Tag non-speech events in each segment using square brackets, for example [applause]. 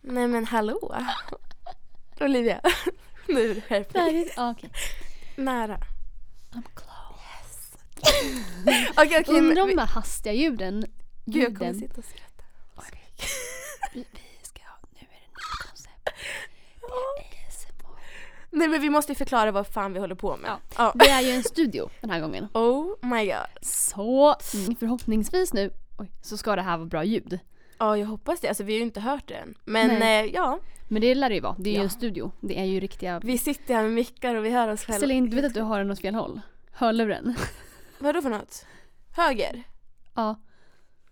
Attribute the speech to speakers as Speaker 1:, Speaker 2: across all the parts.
Speaker 1: Nej men hallå. Olivia. [laughs] Nu skärp
Speaker 2: Det här
Speaker 1: dig.
Speaker 2: är- ja, Okej.
Speaker 1: Nära.
Speaker 2: I'm close.
Speaker 1: Okej okej.
Speaker 2: Undrar om
Speaker 1: vi-
Speaker 2: de här hastiga ljuden...
Speaker 1: Gud jag kommer
Speaker 2: ljuden-
Speaker 1: sitta och skratta.
Speaker 2: [laughs] Vi, vi ska ha... Nu är det nytt koncept. ASMR.
Speaker 1: Nej men vi måste ju förklara vad fan vi håller på med.
Speaker 2: Ja.
Speaker 1: Ja.
Speaker 2: Det är ju en studio den här gången.
Speaker 1: Oh my god.
Speaker 2: Så
Speaker 1: Mm.
Speaker 2: förhoppningsvis nu oj, så ska det här vara bra ljud.
Speaker 1: Ja jag hoppas det. Alltså vi har ju inte hört det än. Men eh,
Speaker 2: Nej.
Speaker 1: ja.
Speaker 2: Men det lär det ju vara. Det är ju
Speaker 1: Ja.
Speaker 2: en studio. Det är ju riktiga...
Speaker 1: Vi sitter här med mickar och vi hör oss själva.
Speaker 2: Ställ in, du vet att du har den åt fel håll? Hörluren.
Speaker 1: Vadå för något? Höger?
Speaker 2: Ja.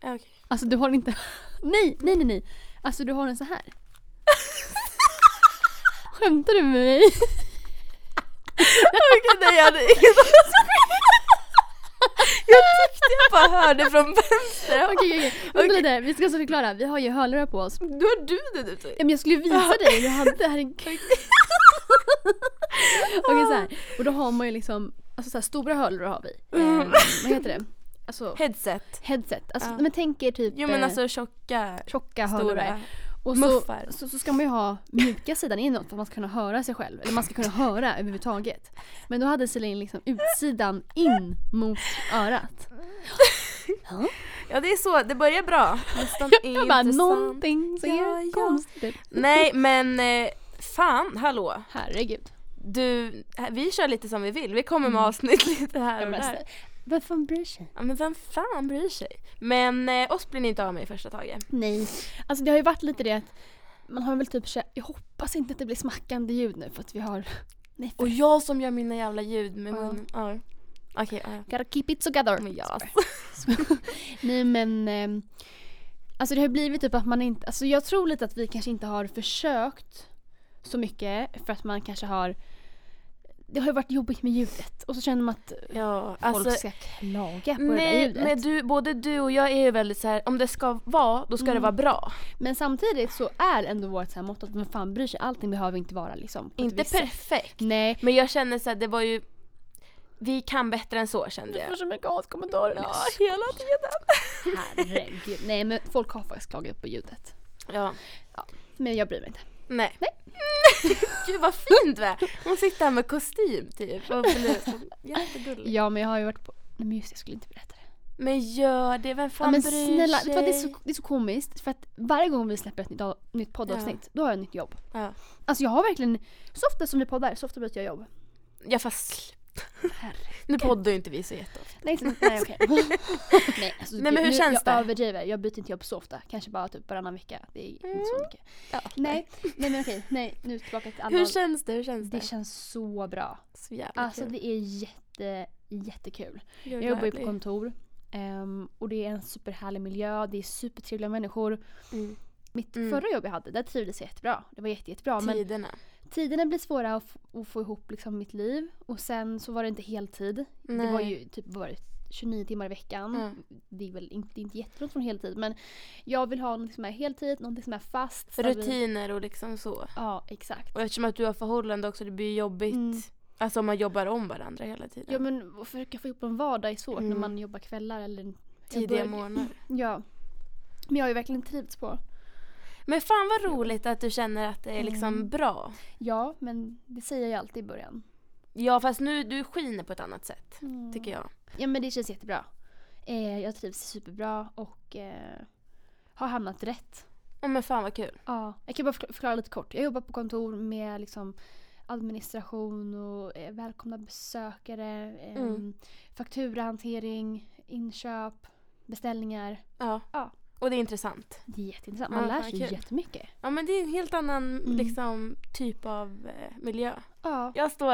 Speaker 1: Ja, okej.
Speaker 2: Alltså du har den inte... [laughs] Nej, nej, nej, nej. Alltså du har den
Speaker 1: [laughs]
Speaker 2: så här. Skämtar du med mig?
Speaker 1: Okej, nej jag hade ingen [laughs] Jag tyckte jag bara hörde från vänster.
Speaker 2: Okej, [laughs] okej, okej. Vänta lite. Vi ska så förklara. Vi har ju hörlurar på oss.
Speaker 1: Då har du typ. den ute.
Speaker 2: Ja, men jag skulle visa dig hur jag hade. Herregud. Okej så här. Och då har man ju liksom, alltså så här, stora hörlurar har vi. Eh,
Speaker 1: Ah. Mm.
Speaker 2: vad heter det? Alltså
Speaker 1: Headset.
Speaker 2: headset. Alltså,
Speaker 1: Ja.
Speaker 2: men tänk er typ
Speaker 1: Jo men
Speaker 2: eh,
Speaker 1: alltså tjocka,
Speaker 2: tjocka hörlurar.
Speaker 1: stora.
Speaker 2: Och
Speaker 1: muffar.
Speaker 2: så, så, så ska man ju ha mjuka sidan inåt för att man ska kunna höra sig själv. Eller man ska kunna höra överhuvudtaget. Men då hade Celine liksom utsidan in mot örat.
Speaker 1: Ja det är så, det börjar bra. Nästan
Speaker 2: Jag bara
Speaker 1: intressant.
Speaker 2: någonting som
Speaker 1: Ja, ja.
Speaker 2: är konstigt.
Speaker 1: Nej men eh, fan, hallå.
Speaker 2: Herregud.
Speaker 1: Du, eh, vi kör lite som vi vill. Vi kommer med avsnitt lite Mm. här och
Speaker 2: Jag bara,
Speaker 1: där.
Speaker 2: Vem fan bryr sig?
Speaker 1: Ja men vem fan bryr sig? Men eh, oss blir ni inte av med i första taget.
Speaker 2: Nej. Alltså det har ju varit lite det att man har väl typ kä- jag hoppas inte att det blir smackande ljud nu för att vi har Nej, för
Speaker 1: Och jag som gör mina jävla ljud med
Speaker 2: Ja.
Speaker 1: munnen. Ja. Okej, ja.
Speaker 2: gotta keep it together.
Speaker 1: Men ja. alltså.
Speaker 2: Nej men ehm, Alltså det har blivit typ att man inte, alltså jag tror lite att vi kanske inte har försökt så mycket för att man kanske har Det har ju varit jobbigt med ljudet och så känner man att
Speaker 1: Ja, alltså.
Speaker 2: folk ska klaga på det där
Speaker 1: Nej,
Speaker 2: ljudet.
Speaker 1: men du, både du och jag är ju väldigt så här, om det ska vara, då ska det
Speaker 2: Mm.
Speaker 1: vara bra.
Speaker 2: Men samtidigt så är ändå vårt så här motto att man fan bryr sig, allting behöver inte vara liksom. på ett
Speaker 1: Inte
Speaker 2: visst sätt.
Speaker 1: perfekt.
Speaker 2: Nej.
Speaker 1: Men jag känner så här, det var ju, vi kan bättre än så kände jag.
Speaker 2: så mycket hatkommentarer.
Speaker 1: Ja, hela tiden.
Speaker 2: Herregud. Nej men folk har faktiskt klagat på ljudet.
Speaker 1: [laughs] Ja,
Speaker 2: Men jag bryr mig inte.
Speaker 1: nej.
Speaker 2: Nej.
Speaker 1: [laughs] Gud vad fint va? Hon sitter här med kostym typ. Och blus. Jättegullig.
Speaker 2: Ja men jag har ju varit på, nej men just det, jag skulle inte berätta det.
Speaker 1: Men gör det, vem fan
Speaker 2: ja, men
Speaker 1: bryr
Speaker 2: snälla, vet
Speaker 1: sig?
Speaker 2: du vad, det, är så, det är så komiskt för att varje gång vi släpper ett nytt, av- nytt poddavsnitt då har jag ett nytt jobb.
Speaker 1: Ja.
Speaker 2: Alltså jag har verkligen, så ofta som vi poddar så ofta byter jag jobb.
Speaker 1: Ja fast
Speaker 2: Herre.
Speaker 1: nu poddar ju inte vi så jätteofta.
Speaker 2: Nej, så, nej
Speaker 1: [laughs]
Speaker 2: okej. [laughs] nej, alltså,
Speaker 1: Nej, men hur
Speaker 2: nu,
Speaker 1: känns
Speaker 2: jag
Speaker 1: det?
Speaker 2: Jag överdriver, jag byter inte jobb så ofta. Kanske bara typ varannan vecka. Det är inte så mycket.
Speaker 1: Mm. Ja.
Speaker 2: Nej, nej men okej, nej nu tillbaka till
Speaker 1: Hur
Speaker 2: annan.
Speaker 1: känns det? Hur känns det?
Speaker 2: Det känns så bra.
Speaker 1: så jävla
Speaker 2: Alltså
Speaker 1: kul.
Speaker 2: det är jätte, jättekul.
Speaker 1: Jag är
Speaker 2: Jag jobbar ju
Speaker 1: glad.
Speaker 2: på kontor ehm, och det är en superhärlig miljö, det är supertrevliga människor.
Speaker 1: Mm.
Speaker 2: Mitt
Speaker 1: Mm.
Speaker 2: förra jobb jag hade, där trivdes jag jättebra. Det var jätte, jättebra. Men
Speaker 1: Tiderna.
Speaker 2: tiderna blir svåra att, f- att få ihop liksom, mitt liv. Och sen så var det inte heltid. Det var
Speaker 1: Nej.
Speaker 2: ju typ vad var det, 29 timmar i veckan.
Speaker 1: Mm.
Speaker 2: Det är väl inte, det är inte jättelångt från heltid men jag vill ha något som är heltid, något som är fast. stabilt.
Speaker 1: Rutiner och liksom så.
Speaker 2: Ja exakt.
Speaker 1: Och eftersom att du har förhållande också, det blir ju jobbigt.
Speaker 2: Mm.
Speaker 1: Alltså om man jobbar om varandra hela tiden.
Speaker 2: Ja men att försöka få ihop en vardag är svårt när
Speaker 1: Mm.
Speaker 2: man jobbar kvällar eller jag
Speaker 1: Tidiga
Speaker 2: började-
Speaker 1: morgnar.
Speaker 2: Ja. Men jag har ju verkligen trivts på
Speaker 1: Men fan vad roligt att du känner att det är liksom
Speaker 2: Mm.
Speaker 1: bra.
Speaker 2: Ja, men det säger jag ju alltid i början. Mm.
Speaker 1: Ja fast nu, du skiner på ett annat sätt. Tycker jag.
Speaker 2: Ja, men det känns jättebra. Eh, jag trivs superbra och eh, har hamnat rätt.
Speaker 1: Ja men fan vad kul.
Speaker 2: Ja. Jag kan bara förkla- förklara lite kort. Jag jobbar på kontor med liksom administration och eh, välkomna besökare, eh,
Speaker 1: Mm.
Speaker 2: fakturahantering, inköp, beställningar.
Speaker 1: Ja.
Speaker 2: Ja.
Speaker 1: Och det är intressant.
Speaker 2: Det är jätteintressant. Man
Speaker 1: Ja,
Speaker 2: lär
Speaker 1: fan,
Speaker 2: sig
Speaker 1: kul.
Speaker 2: jättemycket.
Speaker 1: Ja men det är en helt annan
Speaker 2: Mm.
Speaker 1: liksom typ av eh, miljö.
Speaker 2: Ja.
Speaker 1: Jag
Speaker 2: [laughs]
Speaker 1: står,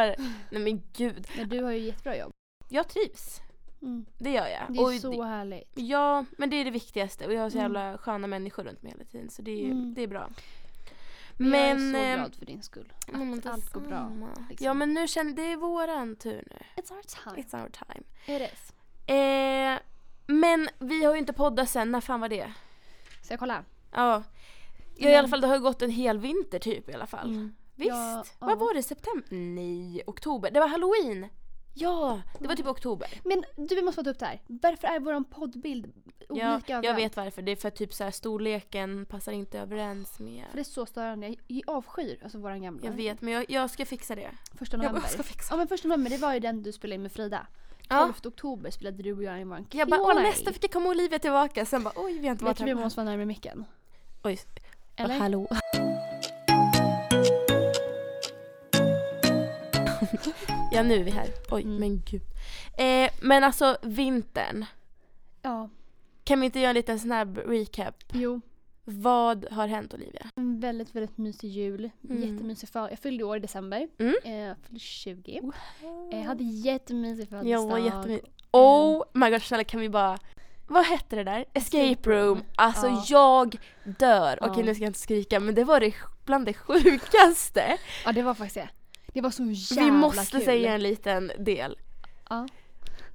Speaker 1: nej men gud.
Speaker 2: Men du har ju jättebra jobb.
Speaker 1: Jag trivs.
Speaker 2: Mm.
Speaker 1: Det gör jag.
Speaker 2: Det är
Speaker 1: Och
Speaker 2: så
Speaker 1: det-
Speaker 2: härligt.
Speaker 1: Ja men det är det viktigaste och jag har så
Speaker 2: Mm.
Speaker 1: jävla sköna människor runt mig hela tiden så det är, ju-
Speaker 2: Mm.
Speaker 1: det är bra.
Speaker 2: jag är
Speaker 1: Men,
Speaker 2: så
Speaker 1: ehm,
Speaker 2: glad för din skull. Att
Speaker 1: Ja, men
Speaker 2: allt går bra.
Speaker 1: detsamma.
Speaker 2: liksom.
Speaker 1: Ja men nu känner det är våran tur nu.
Speaker 2: It's our time.
Speaker 1: It's our time.
Speaker 2: It is.
Speaker 1: Eh, men vi har ju inte poddat sen, när fan var det?
Speaker 2: Ska jag kolla?
Speaker 1: Ja. Ja i alla fall det har ju gått en hel vinter typ i alla fall. Visst?
Speaker 2: Mm. Ja,
Speaker 1: Vad
Speaker 2: ja.
Speaker 1: var det? September? Nej, oktober. Det var halloween! Ja, det var typ oktober.
Speaker 2: Men du, vi måste få ta upp det här. Varför är vår poddbild olika
Speaker 1: Ja, jag
Speaker 2: överallt?
Speaker 1: vet varför. Det är för att typ så här, storleken passar inte överens med...
Speaker 2: För det är så störande. Jag- Jag avskyr alltså våran gamla.
Speaker 1: Jag vet, men jag, jag ska fixa det.
Speaker 2: Första
Speaker 1: Jag,
Speaker 2: november.
Speaker 1: bara, jag ska fixa
Speaker 2: Ja men första november det var ju den du spelade in med Frida. 12
Speaker 1: Ja.
Speaker 2: oktober spelade du och jag in våran
Speaker 1: Jag bara, åh
Speaker 2: Q&A.
Speaker 1: nästa vecka kommer Olivia tillbaka. Sen bara, oj vi har inte
Speaker 2: Jag
Speaker 1: varit
Speaker 2: tror vi
Speaker 1: här.
Speaker 2: måste vara närmare micken.
Speaker 1: Oj,
Speaker 2: Eller?
Speaker 1: hallå. [laughs] ja nu är vi här. Oj
Speaker 2: Mm.
Speaker 1: men gud. Eh, men alltså vintern.
Speaker 2: Ja.
Speaker 1: Kan vi inte göra en liten snabb recap?
Speaker 2: Jo.
Speaker 1: Vad har hänt Olivia?
Speaker 2: En väldigt, väldigt mysig jul.
Speaker 1: Mm.
Speaker 2: Jättemysig för. Jag fyllde år i december.
Speaker 1: Mm.
Speaker 2: Eh, Jag fyllde 20. Eh, Jag hade Eh. jättemysig
Speaker 1: Jag var
Speaker 2: födelsedag.
Speaker 1: jättemycket. Oh my god snälla kan vi bara vad hette det där? Escape
Speaker 2: Escape room.
Speaker 1: room. Alltså
Speaker 2: Ja.
Speaker 1: jag dör.
Speaker 2: Ja.
Speaker 1: Okej nu ska jag inte skrika men det var det, bland det sjukaste.
Speaker 2: Ja det var faktiskt det. Det var så jävla
Speaker 1: vi måste
Speaker 2: kul.
Speaker 1: säga en liten del.
Speaker 2: Ja.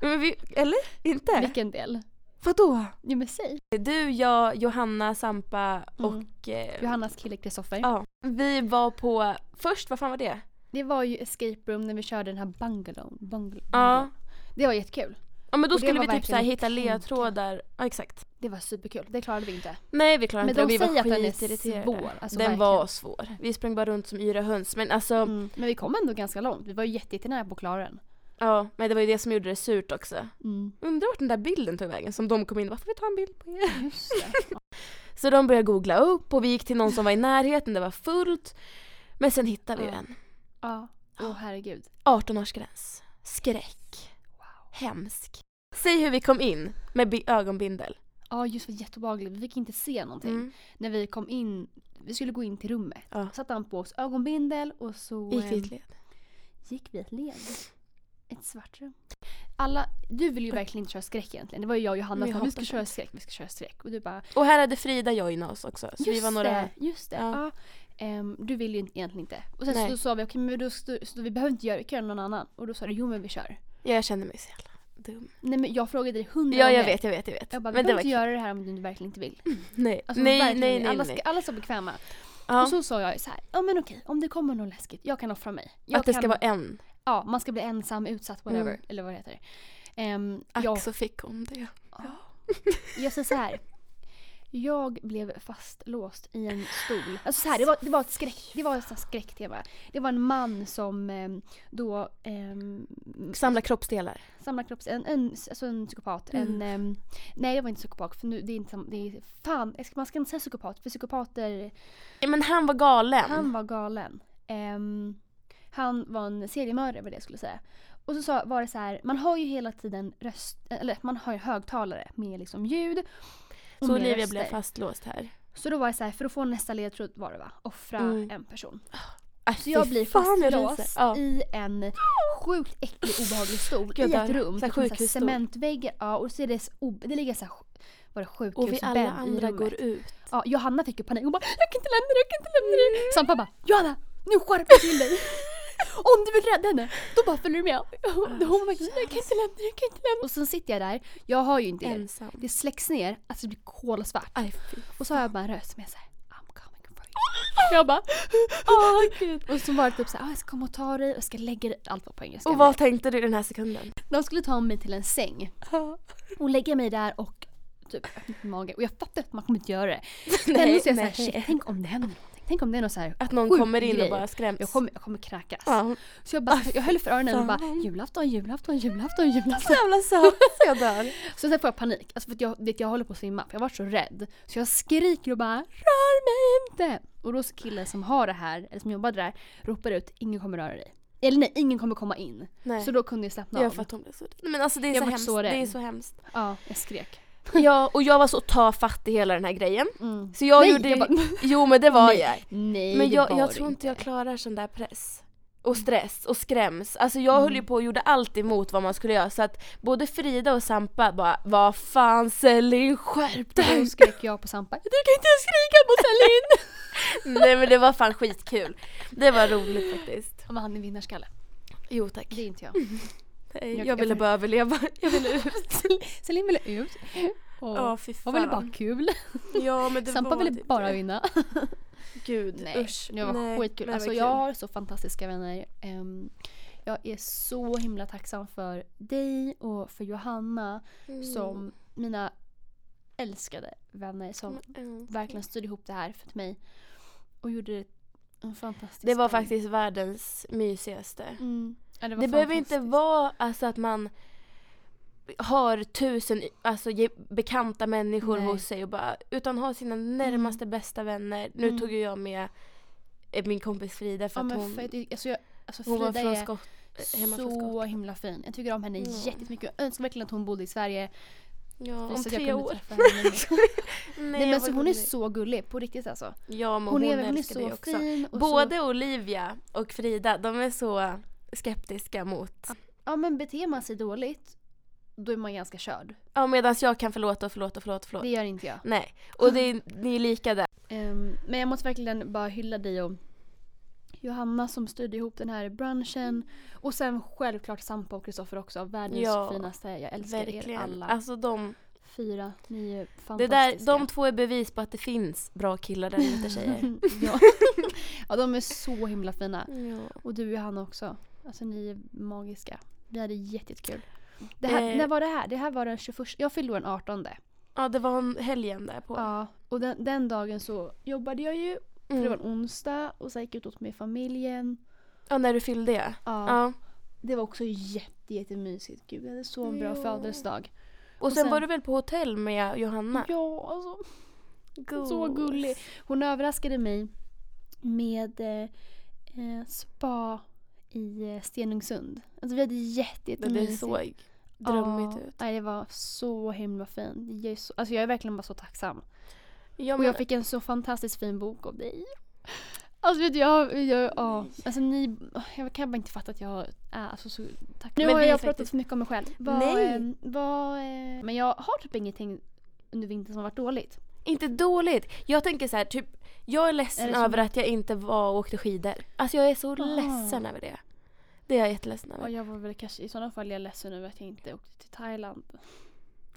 Speaker 1: Men vi, eller? Inte?
Speaker 2: Vilken del?
Speaker 1: Vadå?
Speaker 2: Jo men säg.
Speaker 1: Du, jag, Johanna, Sampa
Speaker 2: Mm.
Speaker 1: och... Eh,
Speaker 2: Johannas kille Kristoffer.
Speaker 1: ja. Vi var på... Först, vad fan var det?
Speaker 2: Det var ju escape room när vi körde den här bungalow. bungalow.
Speaker 1: Ja.
Speaker 2: Det var jättekul.
Speaker 1: Ja men då
Speaker 2: Mm. Och det
Speaker 1: skulle vi
Speaker 2: var
Speaker 1: typ så här
Speaker 2: verkligen
Speaker 1: hitta
Speaker 2: att tänka.
Speaker 1: ledtrådar. Ja exakt.
Speaker 2: Det var superkul. Det klarade vi inte.
Speaker 1: Nej vi klarade
Speaker 2: Men
Speaker 1: inte
Speaker 2: de
Speaker 1: det. Vi
Speaker 2: säger att
Speaker 1: var
Speaker 2: den är
Speaker 1: skitirriterade.
Speaker 2: svår,
Speaker 1: den
Speaker 2: alltså verkligen.
Speaker 1: var svår. Vi sprang bara runt som yra höns. Men alltså,
Speaker 2: Mm. Men vi kom ändå ganska långt. Vi var ju jätte- jättenära på att klara den.
Speaker 1: ja. Men det var ju det som gjorde det surt också.
Speaker 2: Mm.
Speaker 1: Undrar vart den där bilden tog vägen som de kom in. Varför vi ta en bild på er?
Speaker 2: Just det.
Speaker 1: Så de började googla upp och vi gick till någon som var i närheten. Det var fullt. Men sen hittade vi
Speaker 2: Ja.
Speaker 1: en.
Speaker 2: [laughs] ja. Åh herregud.
Speaker 1: 18-årsgräns. Skräck. Hemsk. Säg hur vi kom in med bi- ögonbindel. Typ.
Speaker 2: Ja just det, var jätteobehagligt. Vi fick inte se någonting. När vi kom in, vi skulle gå in till rummet.
Speaker 1: Mm. Ja.
Speaker 2: Satte han på oss ögonbindel och så
Speaker 1: Gick vi i ett
Speaker 2: eh,
Speaker 1: led.
Speaker 2: gick vi ett led. Ett svart rum. Alla, du ville ju verkligen inte köra skräck egentligen. Det var ju jag och Johanna
Speaker 1: Men
Speaker 2: som
Speaker 1: jag
Speaker 2: bara, vi
Speaker 1: hatar
Speaker 2: ska köra skräck, vi ska köra skräck. Och du bara,
Speaker 1: Och här hade Frida joinat oss också. Så vi var några...
Speaker 2: det, just det.
Speaker 1: Ja.
Speaker 2: Ja. Ehm, du vill ju inte- egentligen inte. Och sen
Speaker 1: Nej.
Speaker 2: så sa vi, okej men då, så, så vi behöver inte göra det, vi kan göra någon annan. Och då sa du, jo men vi kör.
Speaker 1: Ja, jag kände mig så jävla dum.
Speaker 2: Nej men jag frågade dig hundra
Speaker 1: Ja, jag
Speaker 2: gånger.
Speaker 1: vet, jag vet, jag vet.
Speaker 2: Jag bara, vi
Speaker 1: men det
Speaker 2: behöver
Speaker 1: var
Speaker 2: inte
Speaker 1: kul.
Speaker 2: göra det här om du verkligen inte vill.
Speaker 1: Nej.
Speaker 2: Alltså,
Speaker 1: nej, nej,
Speaker 2: verkligen,
Speaker 1: nej, nej.
Speaker 2: alla, Ska, Alltså, alla ska vara bekväma.
Speaker 1: ja.
Speaker 2: Och så sa jag så här, ja men okej, om det kommer något läskigt, jag kan offra mig. Jag
Speaker 1: att det
Speaker 2: kan,
Speaker 1: ska vara en.
Speaker 2: Ja, man ska bli ensam, utsatt, whatever.
Speaker 1: Mm.
Speaker 2: Eller vad det heter. Ehm,
Speaker 1: Ack
Speaker 2: jag,
Speaker 1: så fick hon det.
Speaker 2: jag säger så här. Jag blev fastlåst i en stol. Alltså så här, det, var, det var ett skräck, det var ett sånt skräcktema. Det var en man som ehm, då ehm,
Speaker 1: Samla kroppsdelar.
Speaker 2: samlar kropps... En, en, alltså en psykopat.
Speaker 1: Mm.
Speaker 2: En, ehm, nej, jag var inte psykopat. För nu, det är inte sam, det är, Fan, jag ska- man ska inte säga psykopat. För psykopater
Speaker 1: Nej, Men han var galen.
Speaker 2: Han var galen. Ehm, han var en seriemördare var det jag skulle säga. Och så sa, var det så här, man har ju hela tiden röst, eller man har ju högtalare med liksom ljud. och
Speaker 1: så
Speaker 2: med
Speaker 1: Olivia
Speaker 2: röster.
Speaker 1: blev fastlåst här.
Speaker 2: Så då var det så här, för att få nästa ledtråd var det va? Offra
Speaker 1: Mm.
Speaker 2: en person.
Speaker 1: Äh,
Speaker 2: Så
Speaker 1: fy
Speaker 2: jag blir
Speaker 1: fan, jag
Speaker 2: fastlåst
Speaker 1: ryser. Ja.
Speaker 2: i en sjukt äcklig obehaglig stol
Speaker 1: Gud,
Speaker 2: i
Speaker 1: jag
Speaker 2: ett
Speaker 1: dör.
Speaker 2: rum.
Speaker 1: Så här
Speaker 2: typ med
Speaker 1: sjukhusstol.
Speaker 2: cementväggar, ja och så är det, så ob- det ligger så här, sj- var det
Speaker 1: Och vi alla
Speaker 2: sjukhusbädd typ i
Speaker 1: andra
Speaker 2: rummet.
Speaker 1: går ut.
Speaker 2: Ja, Johanna fick ju panik. Hon bara “Jag kan inte lämna dig, jag kan inte lämna dig”.
Speaker 1: Mm.
Speaker 2: Sampa bara “Johanna, nu skärper du till
Speaker 1: [laughs]
Speaker 2: dig! Om du vill rädda henne, då bara följer du med!”
Speaker 1: Ah,
Speaker 2: Hon bara “Jag kan inte lämna dig, jag kan inte lämna dig”. Och sen sitter jag där, jag har ju inte el.
Speaker 1: Ensam.
Speaker 2: Det släcks ner, alltså det blir kolsvart.
Speaker 1: Aj, fy.
Speaker 2: Och så har jag bara en röst som är såhär “I'm coming for you”. Jag bara [laughs] “Åh gud”. Och så var det typ såhär “Ah, “Jag ska komma och ta dig och jag ska lägga dig”. Allt var på engelska.
Speaker 1: Och vad tänkte du i den här sekunden?
Speaker 2: De skulle ta mig till en säng och lägga mig där och typ öppna min mage. Och jag fattar att man kommer inte göra det. Men
Speaker 1: [laughs] Nej,
Speaker 2: ändå så är jag såhär,
Speaker 1: nej.
Speaker 2: shit, tänk om det händer någonting. Tänk om det är någon såhär
Speaker 1: Att någon
Speaker 2: sjuk
Speaker 1: kommer in
Speaker 2: grej.
Speaker 1: och bara skräms.
Speaker 2: Jag kommer, jag kommer kräkas.
Speaker 1: Ja. Ah,
Speaker 2: Så jag, bara, jag höll för öronen och bara
Speaker 1: fan.
Speaker 2: julafton, julafton, julafton, julafton.
Speaker 1: Så jävla söt, jag dör.
Speaker 2: Så sen får jag panik. Alltså för att jag, vet, jag håller på att svimma. För jag var så rädd. Så jag skriker och bara rör mig inte. Och då så killen som har det här, eller som jobbade där, ropar ut ingen kommer röra dig. Eller nej, ingen kommer komma in.
Speaker 1: [laughs] Nej.
Speaker 2: Så då kunde jag slappna
Speaker 1: jag
Speaker 2: av.
Speaker 1: fattar hon blev så Men alltså det är
Speaker 2: Jag
Speaker 1: så
Speaker 2: vart
Speaker 1: hemskt.
Speaker 2: så rädd.
Speaker 1: det är så [laughs] hemskt.
Speaker 2: Ja, jag skrek.
Speaker 1: Ja, och jag var så ta fatt i hela den här grejen.
Speaker 2: Mm.
Speaker 1: Så jag
Speaker 2: Nej,
Speaker 1: gjorde...
Speaker 2: jag bara-
Speaker 1: [laughs] Jo men det var
Speaker 2: Nej,
Speaker 1: jag.
Speaker 2: Nej,
Speaker 1: Men
Speaker 2: det
Speaker 1: jag,
Speaker 2: var
Speaker 1: jag
Speaker 2: det
Speaker 1: tror inte jag klarar sån där press. Och stress och skräms. Alltså jag höll ju på och gjorde allt emot vad man skulle göra så att både Frida och Sampa bara Vad fan Selin skärp
Speaker 2: Och [laughs] Då
Speaker 1: dig!
Speaker 2: skrek jag på Sampa. Du kan inte skrika på Selin!
Speaker 1: [laughs] Nej men det var fan skitkul. Det var roligt faktiskt.
Speaker 2: Men han är vinnarskalle.
Speaker 1: Jo tack.
Speaker 2: Det är inte jag.
Speaker 1: Nej,
Speaker 2: Eh, jag-
Speaker 1: Jag
Speaker 2: jag
Speaker 1: ville
Speaker 2: får-
Speaker 1: bara överleva. [laughs] Jag ville
Speaker 2: [laughs]
Speaker 1: ut.
Speaker 2: Selin ville ut. Och
Speaker 1: Ja fy fan.
Speaker 2: hon ville bara ha kul.
Speaker 1: Ja men det
Speaker 2: Sampa
Speaker 1: var
Speaker 2: ville
Speaker 1: typ
Speaker 2: bara
Speaker 1: det. [laughs]
Speaker 2: vinna.
Speaker 1: Gud
Speaker 2: Nej,
Speaker 1: usch.
Speaker 2: det var
Speaker 1: Nej,
Speaker 2: skitkul.
Speaker 1: men det
Speaker 2: Alltså
Speaker 1: var
Speaker 2: jag har så fantastiska vänner. Ehm, Jag är så himla tacksam för dig och för Johanna
Speaker 1: Mm.
Speaker 2: som mina älskade vänner som
Speaker 1: Mm.
Speaker 2: verkligen styrde ihop det här för mig. Och gjorde det en fantastisk
Speaker 1: Det var
Speaker 2: helg.
Speaker 1: faktiskt världens mysigaste.
Speaker 2: Mm. Ja, det var
Speaker 1: Det behöver inte
Speaker 2: fantastiskt.
Speaker 1: vara alltså, att man har tusen alltså, ge- bekanta människor
Speaker 2: Nej.
Speaker 1: hos sig och bara, utan ha sina närmaste bästa vänner. Nu
Speaker 2: Mm.
Speaker 1: tog ju jag med eh, min kompis Frida för
Speaker 2: Ja,
Speaker 1: att
Speaker 2: men
Speaker 1: hon,
Speaker 2: för att det- alltså, jag, alltså
Speaker 1: hon var
Speaker 2: Frida
Speaker 1: från
Speaker 2: är
Speaker 1: Skott, hemma från
Speaker 2: så
Speaker 1: Skott.
Speaker 2: himla fin. Jag tycker om henne
Speaker 1: Ja.
Speaker 2: jättemycket. Jag önskar verkligen att hon bodde i Sverige.
Speaker 1: Ja,
Speaker 2: så
Speaker 1: om
Speaker 2: att jag
Speaker 1: tre
Speaker 2: kunde
Speaker 1: år.
Speaker 2: träffa
Speaker 1: [laughs]
Speaker 2: henne mer.
Speaker 1: Nej,
Speaker 2: Nej, men
Speaker 1: vad
Speaker 2: så hon är
Speaker 1: gullig.
Speaker 2: så gullig på riktigt alltså.
Speaker 1: Ja, men
Speaker 2: Hon, är, hon är
Speaker 1: älskar dig
Speaker 2: så
Speaker 1: också.
Speaker 2: fin. Och
Speaker 1: Både
Speaker 2: Så,
Speaker 1: Olivia och Frida, de är så skeptiska mot...
Speaker 2: ja men beter man sig dåligt då är man ganska körd.
Speaker 1: Ja, medan jag kan förlåta och förlåta och förlåta, förlåta.
Speaker 2: Det gör inte jag.
Speaker 1: Nej, och det är, ni är lika där.
Speaker 2: Ehm, men jag måste verkligen bara hylla dig och Johanna som styrde ihop den här branschen. Och sen självklart Sampa och Kristoffer också. Världens
Speaker 1: Ja,
Speaker 2: finaste. Jag älskar er
Speaker 1: Verkligen.
Speaker 2: alla
Speaker 1: Alltså de,
Speaker 2: fyra. Ni är
Speaker 1: det
Speaker 2: fantastiska.
Speaker 1: där, de två är bevis på att det finns bra killar där ute
Speaker 2: [laughs]
Speaker 1: tjejer.
Speaker 2: Mm,
Speaker 1: [laughs]
Speaker 2: ja. ja, de är så himla fina.
Speaker 1: ja.
Speaker 2: Och du Johanna också. Alltså ni är magiska. Vi hade jätte- jättekul. Det här,
Speaker 1: Eh.
Speaker 2: När var det här? Det här var den 21. Jag fyllde år den 18.
Speaker 1: ja, det var en helgen där på.
Speaker 2: Ja. Och den, den dagen så jobbade jag ju. För det var
Speaker 1: Mm.
Speaker 2: en onsdag och sen gick jag ut med familjen.
Speaker 1: Ja, när du fyllde ja.
Speaker 2: Ja.
Speaker 1: ja.
Speaker 2: Det var också jätte, jättemysigt. Gud, jag hade så en bra
Speaker 1: Ja.
Speaker 2: födelsedag.
Speaker 1: Och sen,
Speaker 2: sen-
Speaker 1: var du väl på hotell med Johanna?
Speaker 2: Ja, alltså så gullig. Hon överraskade mig med eh, eh, spa i eh, Stenungsund. Alltså vi hade jätte,
Speaker 1: Men det
Speaker 2: jättemysigt.
Speaker 1: såg drömmigt ut.
Speaker 2: Nej, det var så himla fint. Jag är, så, alltså jag är verkligen bara så tacksam.
Speaker 1: Ja,
Speaker 2: Och
Speaker 1: men,
Speaker 2: jag fick en så fantastiskt fin bok av dig. Alltså vet du, jag, jag, ja. alltså ni, jag kan bara inte fatta att jag är alltså, så tack. Nu
Speaker 1: Men
Speaker 2: har
Speaker 1: vi är
Speaker 2: jag pratat
Speaker 1: faktiskt-
Speaker 2: för mycket om mig själv. Vad,
Speaker 1: Nej.
Speaker 2: eh, vad, eh, men jag har typ ingenting under vintern som har varit dåligt.
Speaker 1: Inte dåligt. Jag tänker så här, typ, jag är
Speaker 2: Är
Speaker 1: ledsen
Speaker 2: det som-
Speaker 1: över att jag inte var och åkte skidor. Alltså jag är så
Speaker 2: Ah.
Speaker 1: ledsen över det. Det är jag jätteledsen
Speaker 2: Och
Speaker 1: över.
Speaker 2: jag var väl kanske, i sådana fall är jag ledsen över att jag inte åkte till Thailand.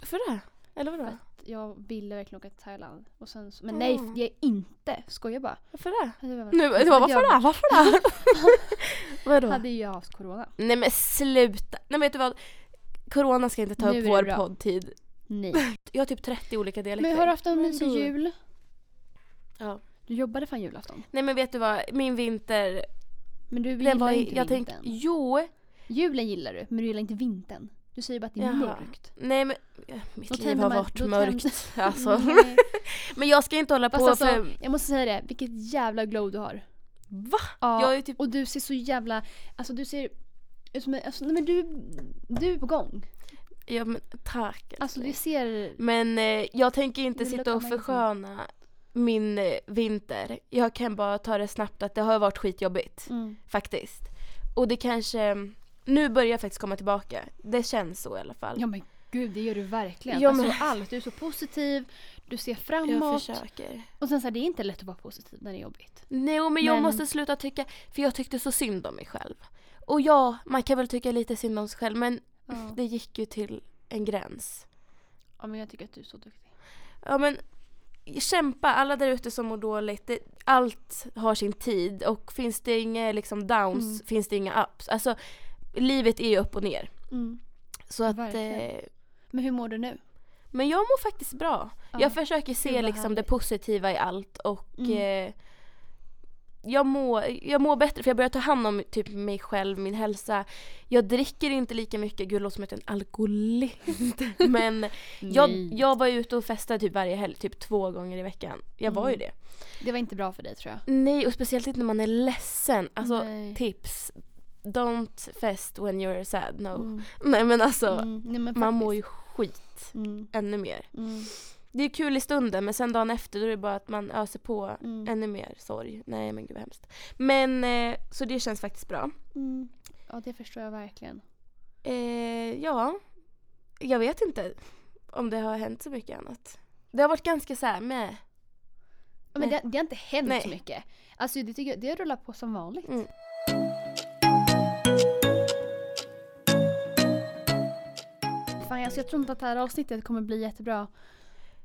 Speaker 1: För det? Eller vadå?
Speaker 2: Jag ville verkligen åka till Thailand. Och sen, så- men
Speaker 1: Ah.
Speaker 2: nej, det är jag inte. Skojar bara. Mm.
Speaker 1: Varför det?
Speaker 2: Hade jag,
Speaker 1: Nu, det var varför det? Varför det?
Speaker 2: [laughs]
Speaker 1: [laughs] Vadå?
Speaker 2: hade ju jag haft corona.
Speaker 1: Nej men sluta. Nej men vet du vad? Corona ska inte ta
Speaker 2: Nu
Speaker 1: upp
Speaker 2: är det
Speaker 1: vår
Speaker 2: bra.
Speaker 1: poddtid.
Speaker 2: Nej.
Speaker 1: Jag har typ 30 olika dialekter.
Speaker 2: Men har du haft en
Speaker 1: Men
Speaker 2: mysig
Speaker 1: då-
Speaker 2: jul?
Speaker 1: Ja.
Speaker 2: Du jobbade fan julafton.
Speaker 1: Nej men vet du vad? Min vinter...
Speaker 2: Men du gillar
Speaker 1: Den var,
Speaker 2: inte
Speaker 1: jag tänkte,
Speaker 2: vintern.
Speaker 1: jo.
Speaker 2: Julen gillar du, men du gillar inte vintern. Du säger bara att det är
Speaker 1: Jaha.
Speaker 2: mörkt.
Speaker 1: Nej men mitt
Speaker 2: Då
Speaker 1: liv
Speaker 2: tänder
Speaker 1: har
Speaker 2: man-
Speaker 1: varit
Speaker 2: då
Speaker 1: mörkt. Alltså.
Speaker 2: [laughs]
Speaker 1: [laughs]
Speaker 2: Nej.
Speaker 1: Men jag ska inte hålla på
Speaker 2: Fast alltså,
Speaker 1: för...
Speaker 2: jag måste säga det, vilket jävla glow du har.
Speaker 1: Va?
Speaker 2: Ja,
Speaker 1: Jag är typ...
Speaker 2: och du ser så jävla, alltså du ser ut som en- alltså, nej men du, du är på gång.
Speaker 1: Ja, men tack
Speaker 2: Alltså du
Speaker 1: älskling.
Speaker 2: ser,
Speaker 1: Men eh, jag tänker inte
Speaker 2: Men
Speaker 1: sitta
Speaker 2: look
Speaker 1: och
Speaker 2: amazing.
Speaker 1: försköna min eh, vinter. Jag kan bara ta det snabbt att det har varit skitjobbigt.
Speaker 2: mm,
Speaker 1: Faktiskt. Och det kanske... Nu börjar jag faktiskt komma tillbaka. Det känns så i alla fall.
Speaker 2: ja men gud det gör du verkligen.
Speaker 1: Ja,
Speaker 2: alltså
Speaker 1: men-
Speaker 2: allt, du är så positiv, du ser
Speaker 1: jag
Speaker 2: framåt.
Speaker 1: försöker.
Speaker 2: Och sen så här, det är inte lätt att vara positiv när det är jobbigt.
Speaker 1: Nej, men jag
Speaker 2: Men-
Speaker 1: måste sluta tycka... För jag tyckte så synd om mig själv. Och ja, man kan väl tycka lite synd om sig själv men
Speaker 2: Ja.
Speaker 1: det gick ju till en gräns.
Speaker 2: ja men jag tycker att du är så duktig.
Speaker 1: Ja men kämpa, alla där ute som mår dåligt. Det, allt har sin tid och finns det inga liksom downs
Speaker 2: Mm.
Speaker 1: finns det inga ups. Alltså livet är ju upp och ner.
Speaker 2: Mm.
Speaker 1: Så att,
Speaker 2: Verkligen.
Speaker 1: eh,
Speaker 2: Men hur mår du nu?
Speaker 1: men jag mår faktiskt bra.
Speaker 2: Ja.
Speaker 1: Jag försöker se
Speaker 2: vad
Speaker 1: liksom det
Speaker 2: härligt.
Speaker 1: positiva i allt och
Speaker 2: Mm.
Speaker 1: eh, jag mår, jag mår bättre för jag börjar ta hand om typ mig själv, min hälsa. Jag dricker inte lika mycket, gud det låter som att jag är en alkoholist. [laughs] Men jag,
Speaker 2: Nej.
Speaker 1: jag var ute och festade typ varje helg, typ två gånger i veckan. Jag var ju
Speaker 2: Mm.
Speaker 1: det.
Speaker 2: Det var inte bra för dig tror jag.
Speaker 1: Nej, och speciellt inte när man är ledsen. Alltså
Speaker 2: Nej.
Speaker 1: tips. Don't fest when you're sad, no.
Speaker 2: Mm.
Speaker 1: Nej men alltså,
Speaker 2: Mm, nej, men
Speaker 1: man mår
Speaker 2: faktiskt.
Speaker 1: ju skit
Speaker 2: Mm,
Speaker 1: ännu mer.
Speaker 2: mm,
Speaker 1: Det är kul i stunden men sen dagen efter då är det bara att man öser på
Speaker 2: mm,
Speaker 1: ännu mer sorg. Nej men gud vad hemskt. Men eh, så det känns faktiskt bra.
Speaker 2: mm. Ja, det förstår jag verkligen.
Speaker 1: Eh, ja, jag vet inte om det har hänt så mycket annat. Det har varit ganska så här med.
Speaker 2: Ja, Men det, det har inte hänt
Speaker 1: Nej.
Speaker 2: så mycket. Alltså det, tycker jag, det rullar på som vanligt.
Speaker 1: Mm.
Speaker 2: Fan, alltså, jag tror inte att det här avsnittet kommer bli jättebra.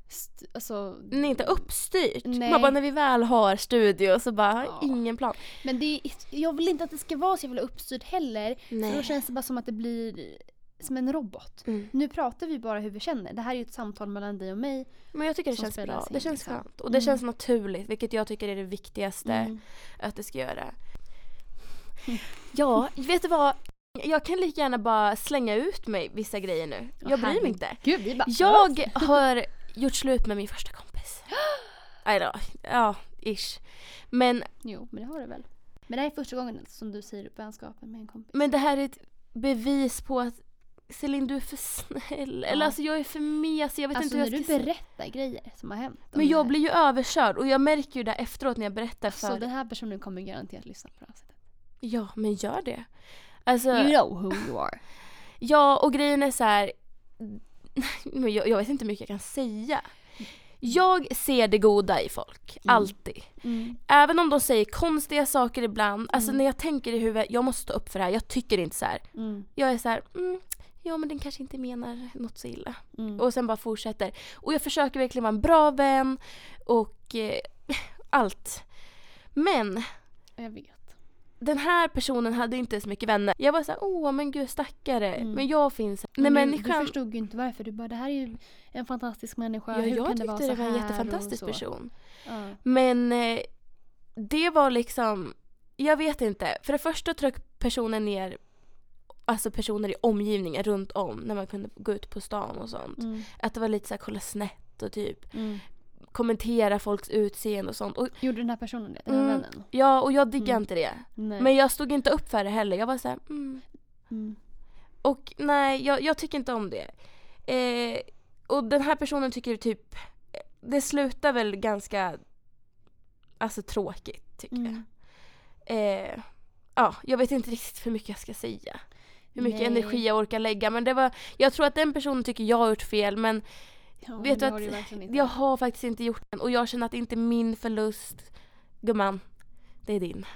Speaker 2: st- alltså,
Speaker 1: Nej, inte uppstyrt.
Speaker 2: Nej.
Speaker 1: Man bara, när vi väl har studio så bara,
Speaker 2: Ja.
Speaker 1: ingen plan.
Speaker 2: men det är, jag vill inte att det ska vara så jävla uppstyrt heller. För då känns det bara som att det blir som en robot.
Speaker 1: Mm.
Speaker 2: Nu pratar vi bara hur vi känner. Det här är ju ett samtal mellan dig och mig.
Speaker 1: Men jag tycker det
Speaker 2: Som
Speaker 1: känns
Speaker 2: spelas
Speaker 1: bra.
Speaker 2: in,
Speaker 1: Det känns
Speaker 2: liksom.
Speaker 1: skönt. Och det
Speaker 2: Mm.
Speaker 1: känns naturligt, vilket jag tycker är det viktigaste
Speaker 2: Mm.
Speaker 1: att det ska göra.
Speaker 2: Mm.
Speaker 1: Ja, vet du vad? Jag kan lika gärna bara slänga ut mig vissa grejer nu.
Speaker 2: Åh,
Speaker 1: Jag bryr mig
Speaker 2: herregud.
Speaker 1: inte.
Speaker 2: Gud, vi bara...
Speaker 1: Jag
Speaker 2: [laughs]
Speaker 1: har gjort slut med min första kompis.
Speaker 2: [gasps]
Speaker 1: I don't, ja, ish. Men,
Speaker 2: Jo, men det har du väl. Men det här är första gången alltså som du säger upp vänskapen med en kompis.
Speaker 1: men det här är ett bevis på att Celine du är för snäll. Eller
Speaker 2: Ja.
Speaker 1: alltså jag är för mesig, jag vet inte
Speaker 2: alltså när
Speaker 1: hur
Speaker 2: du
Speaker 1: jag ska säga.
Speaker 2: berättar grejer som har hänt. om
Speaker 1: Men
Speaker 2: det
Speaker 1: jag
Speaker 2: här. Alltså,
Speaker 1: blir ju överkörd och jag märker ju det efteråt när jag berättar
Speaker 2: Så
Speaker 1: för
Speaker 2: den här personen kommer garanterat lyssna på det här sättet. Mm.
Speaker 1: Ja, men gör det. Alltså,
Speaker 2: You know who you are.
Speaker 1: ja och grejen är så här. [laughs] Men jag, jag vet inte hur mycket jag kan säga. Jag ser det goda i folk,
Speaker 2: Mm.
Speaker 1: alltid.
Speaker 2: Mm.
Speaker 1: Även om de säger konstiga saker ibland, alltså
Speaker 2: Mm.
Speaker 1: när jag tänker i huvudet, jag måste stå upp för det här, jag tycker inte så här.
Speaker 2: Mm.
Speaker 1: Jag är så här, mm, ja men den kanske inte menar något så illa.
Speaker 2: Mm.
Speaker 1: Och sen bara fortsätter. Och jag försöker verkligen vara en bra vän och eh, [laughs] allt. Men
Speaker 2: Jag vet.
Speaker 1: den här personen hade inte så mycket vänner. Jag var såhär, åh men gud stackare.
Speaker 2: Mm.
Speaker 1: Men jag finns.
Speaker 2: Men
Speaker 1: När
Speaker 2: du, du
Speaker 1: människan...
Speaker 2: förstod ju inte varför. Du bara, det här är ju en fantastisk människa.
Speaker 1: Ja,
Speaker 2: Hur
Speaker 1: jag
Speaker 2: kan
Speaker 1: tyckte
Speaker 2: det vara
Speaker 1: det,
Speaker 2: så
Speaker 1: var en
Speaker 2: här och
Speaker 1: jättefantastisk
Speaker 2: så?
Speaker 1: person.
Speaker 2: Ja.
Speaker 1: Men eh, det var liksom, jag vet inte. För det första tryck personen ner Alltså personer i omgivningen runt om när man kunde gå ut på stan och sånt.
Speaker 2: Mm.
Speaker 1: Att det var lite såhär kolla snett och typ
Speaker 2: Mm.
Speaker 1: kommentera folks utseende och sånt. Och,
Speaker 2: Gjorde den här personen det? Den här
Speaker 1: Mm.
Speaker 2: vännen?
Speaker 1: ja, och jag diggar
Speaker 2: Mm.
Speaker 1: inte det.
Speaker 2: Nej.
Speaker 1: Men jag stod inte upp för det heller. Jag var såhär, mm,
Speaker 2: Mm.
Speaker 1: Och nej, jag, jag tycker inte om det. Eh, och den här personen tycker typ, det slutar väl ganska alltså tråkigt tycker
Speaker 2: Mm.
Speaker 1: jag. Eh, ja, jag vet inte riktigt hur mycket jag ska säga. Hur mycket
Speaker 2: Nej.
Speaker 1: energi jag orkar lägga men det var, jag tror att den personen tycker jag har gjort fel men
Speaker 2: Ja,
Speaker 1: Vet
Speaker 2: det
Speaker 1: du
Speaker 2: har
Speaker 1: att
Speaker 2: du verkligen inte.
Speaker 1: jag har faktiskt inte gjort den och jag känner att det inte är min förlust. Gumman, det är din.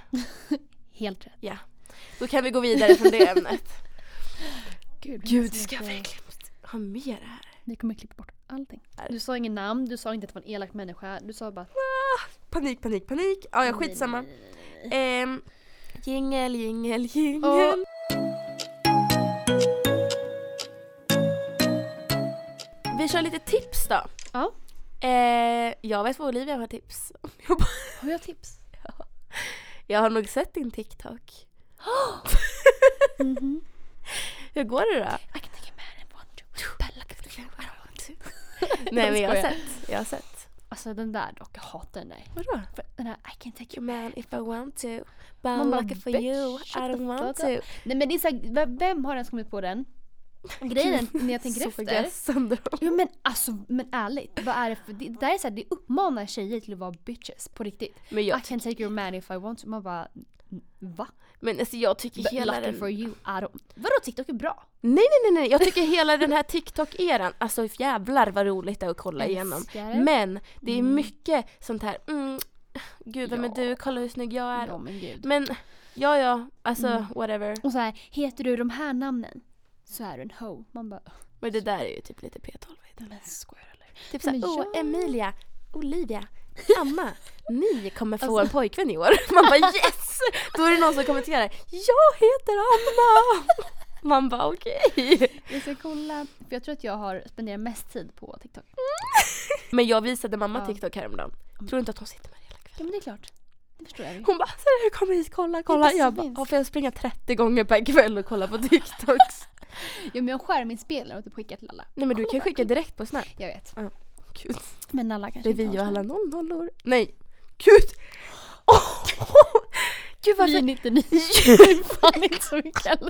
Speaker 2: Helt rätt.
Speaker 1: Då kan vi gå vidare från
Speaker 2: [laughs]
Speaker 1: det ämnet.
Speaker 2: Gud,
Speaker 1: Gud, ska jag verkligen ha med det här?
Speaker 2: Vi kommer klippa bort allting. Du sa ingen namn, du sa inte att det var en elak människa. Du sa bara att...
Speaker 1: Panik, panik, panik. Ja, ja skitsamma.
Speaker 2: Nej, nej, nej, nej.
Speaker 1: Ehm, jingel, jingel, jingel.
Speaker 2: Och-
Speaker 1: Vi kör lite tips då.
Speaker 2: Ja.
Speaker 1: Eh, jag vet vad Olivia har tips. [laughs] Jag bara-
Speaker 2: Har jag tips?
Speaker 1: Jag har nog sett din TikTok. [gasps]
Speaker 2: Mhm.
Speaker 1: Hur går
Speaker 2: [laughs]
Speaker 1: det då?
Speaker 2: I can take a man and want you. But like if you want to.
Speaker 1: Nej men jag har
Speaker 2: skojar.
Speaker 1: sett. Jag har sett.
Speaker 2: Alltså den där dock, jag hatar den där.
Speaker 1: Vadå?
Speaker 2: För Den där I can take you.
Speaker 1: Man if I want to. But
Speaker 2: Man
Speaker 1: I'm
Speaker 2: bara,
Speaker 1: lucky for
Speaker 2: "Bitch,
Speaker 1: you. I
Speaker 2: shut the
Speaker 1: don't want
Speaker 2: fuck
Speaker 1: to.
Speaker 2: up." Nej men det är så här, v- vem har ens kommit på den? [laughs] Grejen är att när jag [laughs] tänker efter.
Speaker 1: efter.
Speaker 2: Jo men alltså, men ärligt. Vad är det för, det, det där är så här, det uppmanar tjejer till att vara bitches på riktigt.
Speaker 1: Men jag,
Speaker 2: I can take your man if I want to. Man bara, "N- va?
Speaker 1: men alltså jag tycker
Speaker 2: But
Speaker 1: hela
Speaker 2: Lucky
Speaker 1: den...
Speaker 2: for you, I don't. Vadå TikTok är bra?
Speaker 1: Nej, nej, nej, nej. Jag tycker hela den här TikTok-eran, alltså jävlar vad roligt det är att kolla igenom.
Speaker 2: Älskar.
Speaker 1: Men det är mycket sånt här, mm, gud vem är
Speaker 2: Mm. Ja.
Speaker 1: du, kolla hur snygg jag är.
Speaker 2: Ja Mm. men gud.
Speaker 1: Men ja, ja, alltså whatever.
Speaker 2: Och så här, heter du de här namnen så är du en ho. Man bara,
Speaker 1: Men det där är ju typ lite P12. vet du.
Speaker 2: men skojar du eller?
Speaker 1: Typ såhär,
Speaker 2: Men
Speaker 1: åh
Speaker 2: ja."
Speaker 1: Emilia, Olivia, Anna, ni kommer få
Speaker 2: Alltså-
Speaker 1: en pojkvän i år. [laughs] Man bara yes! Då är det någon som kommenterar, jag heter Anna! Man bara okej.
Speaker 2: Jag ska kolla. För jag tror att jag har spenderat mest tid på TikTok.
Speaker 1: Men jag visade mamma
Speaker 2: Ja.
Speaker 1: TikTok häromdagen. Tror du inte att hon sitter med det hela kvällen?
Speaker 2: Ja men det är klart. Det förstår jag ju.
Speaker 1: Hon bara såhär, kom hit, kolla, kolla.
Speaker 2: Det är
Speaker 1: Jag bara,
Speaker 2: precis.
Speaker 1: ja, får jag springa 30 gånger per kväll och kolla på [laughs] TikToks?
Speaker 2: Ja men jag har skärminspelare och typ skickar till alla.
Speaker 1: Nej men du kan
Speaker 2: Kolla.
Speaker 1: skicka direkt på Snap.
Speaker 2: Jag vet.
Speaker 1: Gud.
Speaker 2: Men alla kanske
Speaker 1: Det är vi
Speaker 2: inte
Speaker 1: och
Speaker 2: har
Speaker 1: alla
Speaker 2: Snap.
Speaker 1: nollnollor. Nej, gud! Åh! [laughs] Gud
Speaker 2: Vi är
Speaker 1: varför?
Speaker 2: [laughs] 99. Det är fan inte så mycket heller.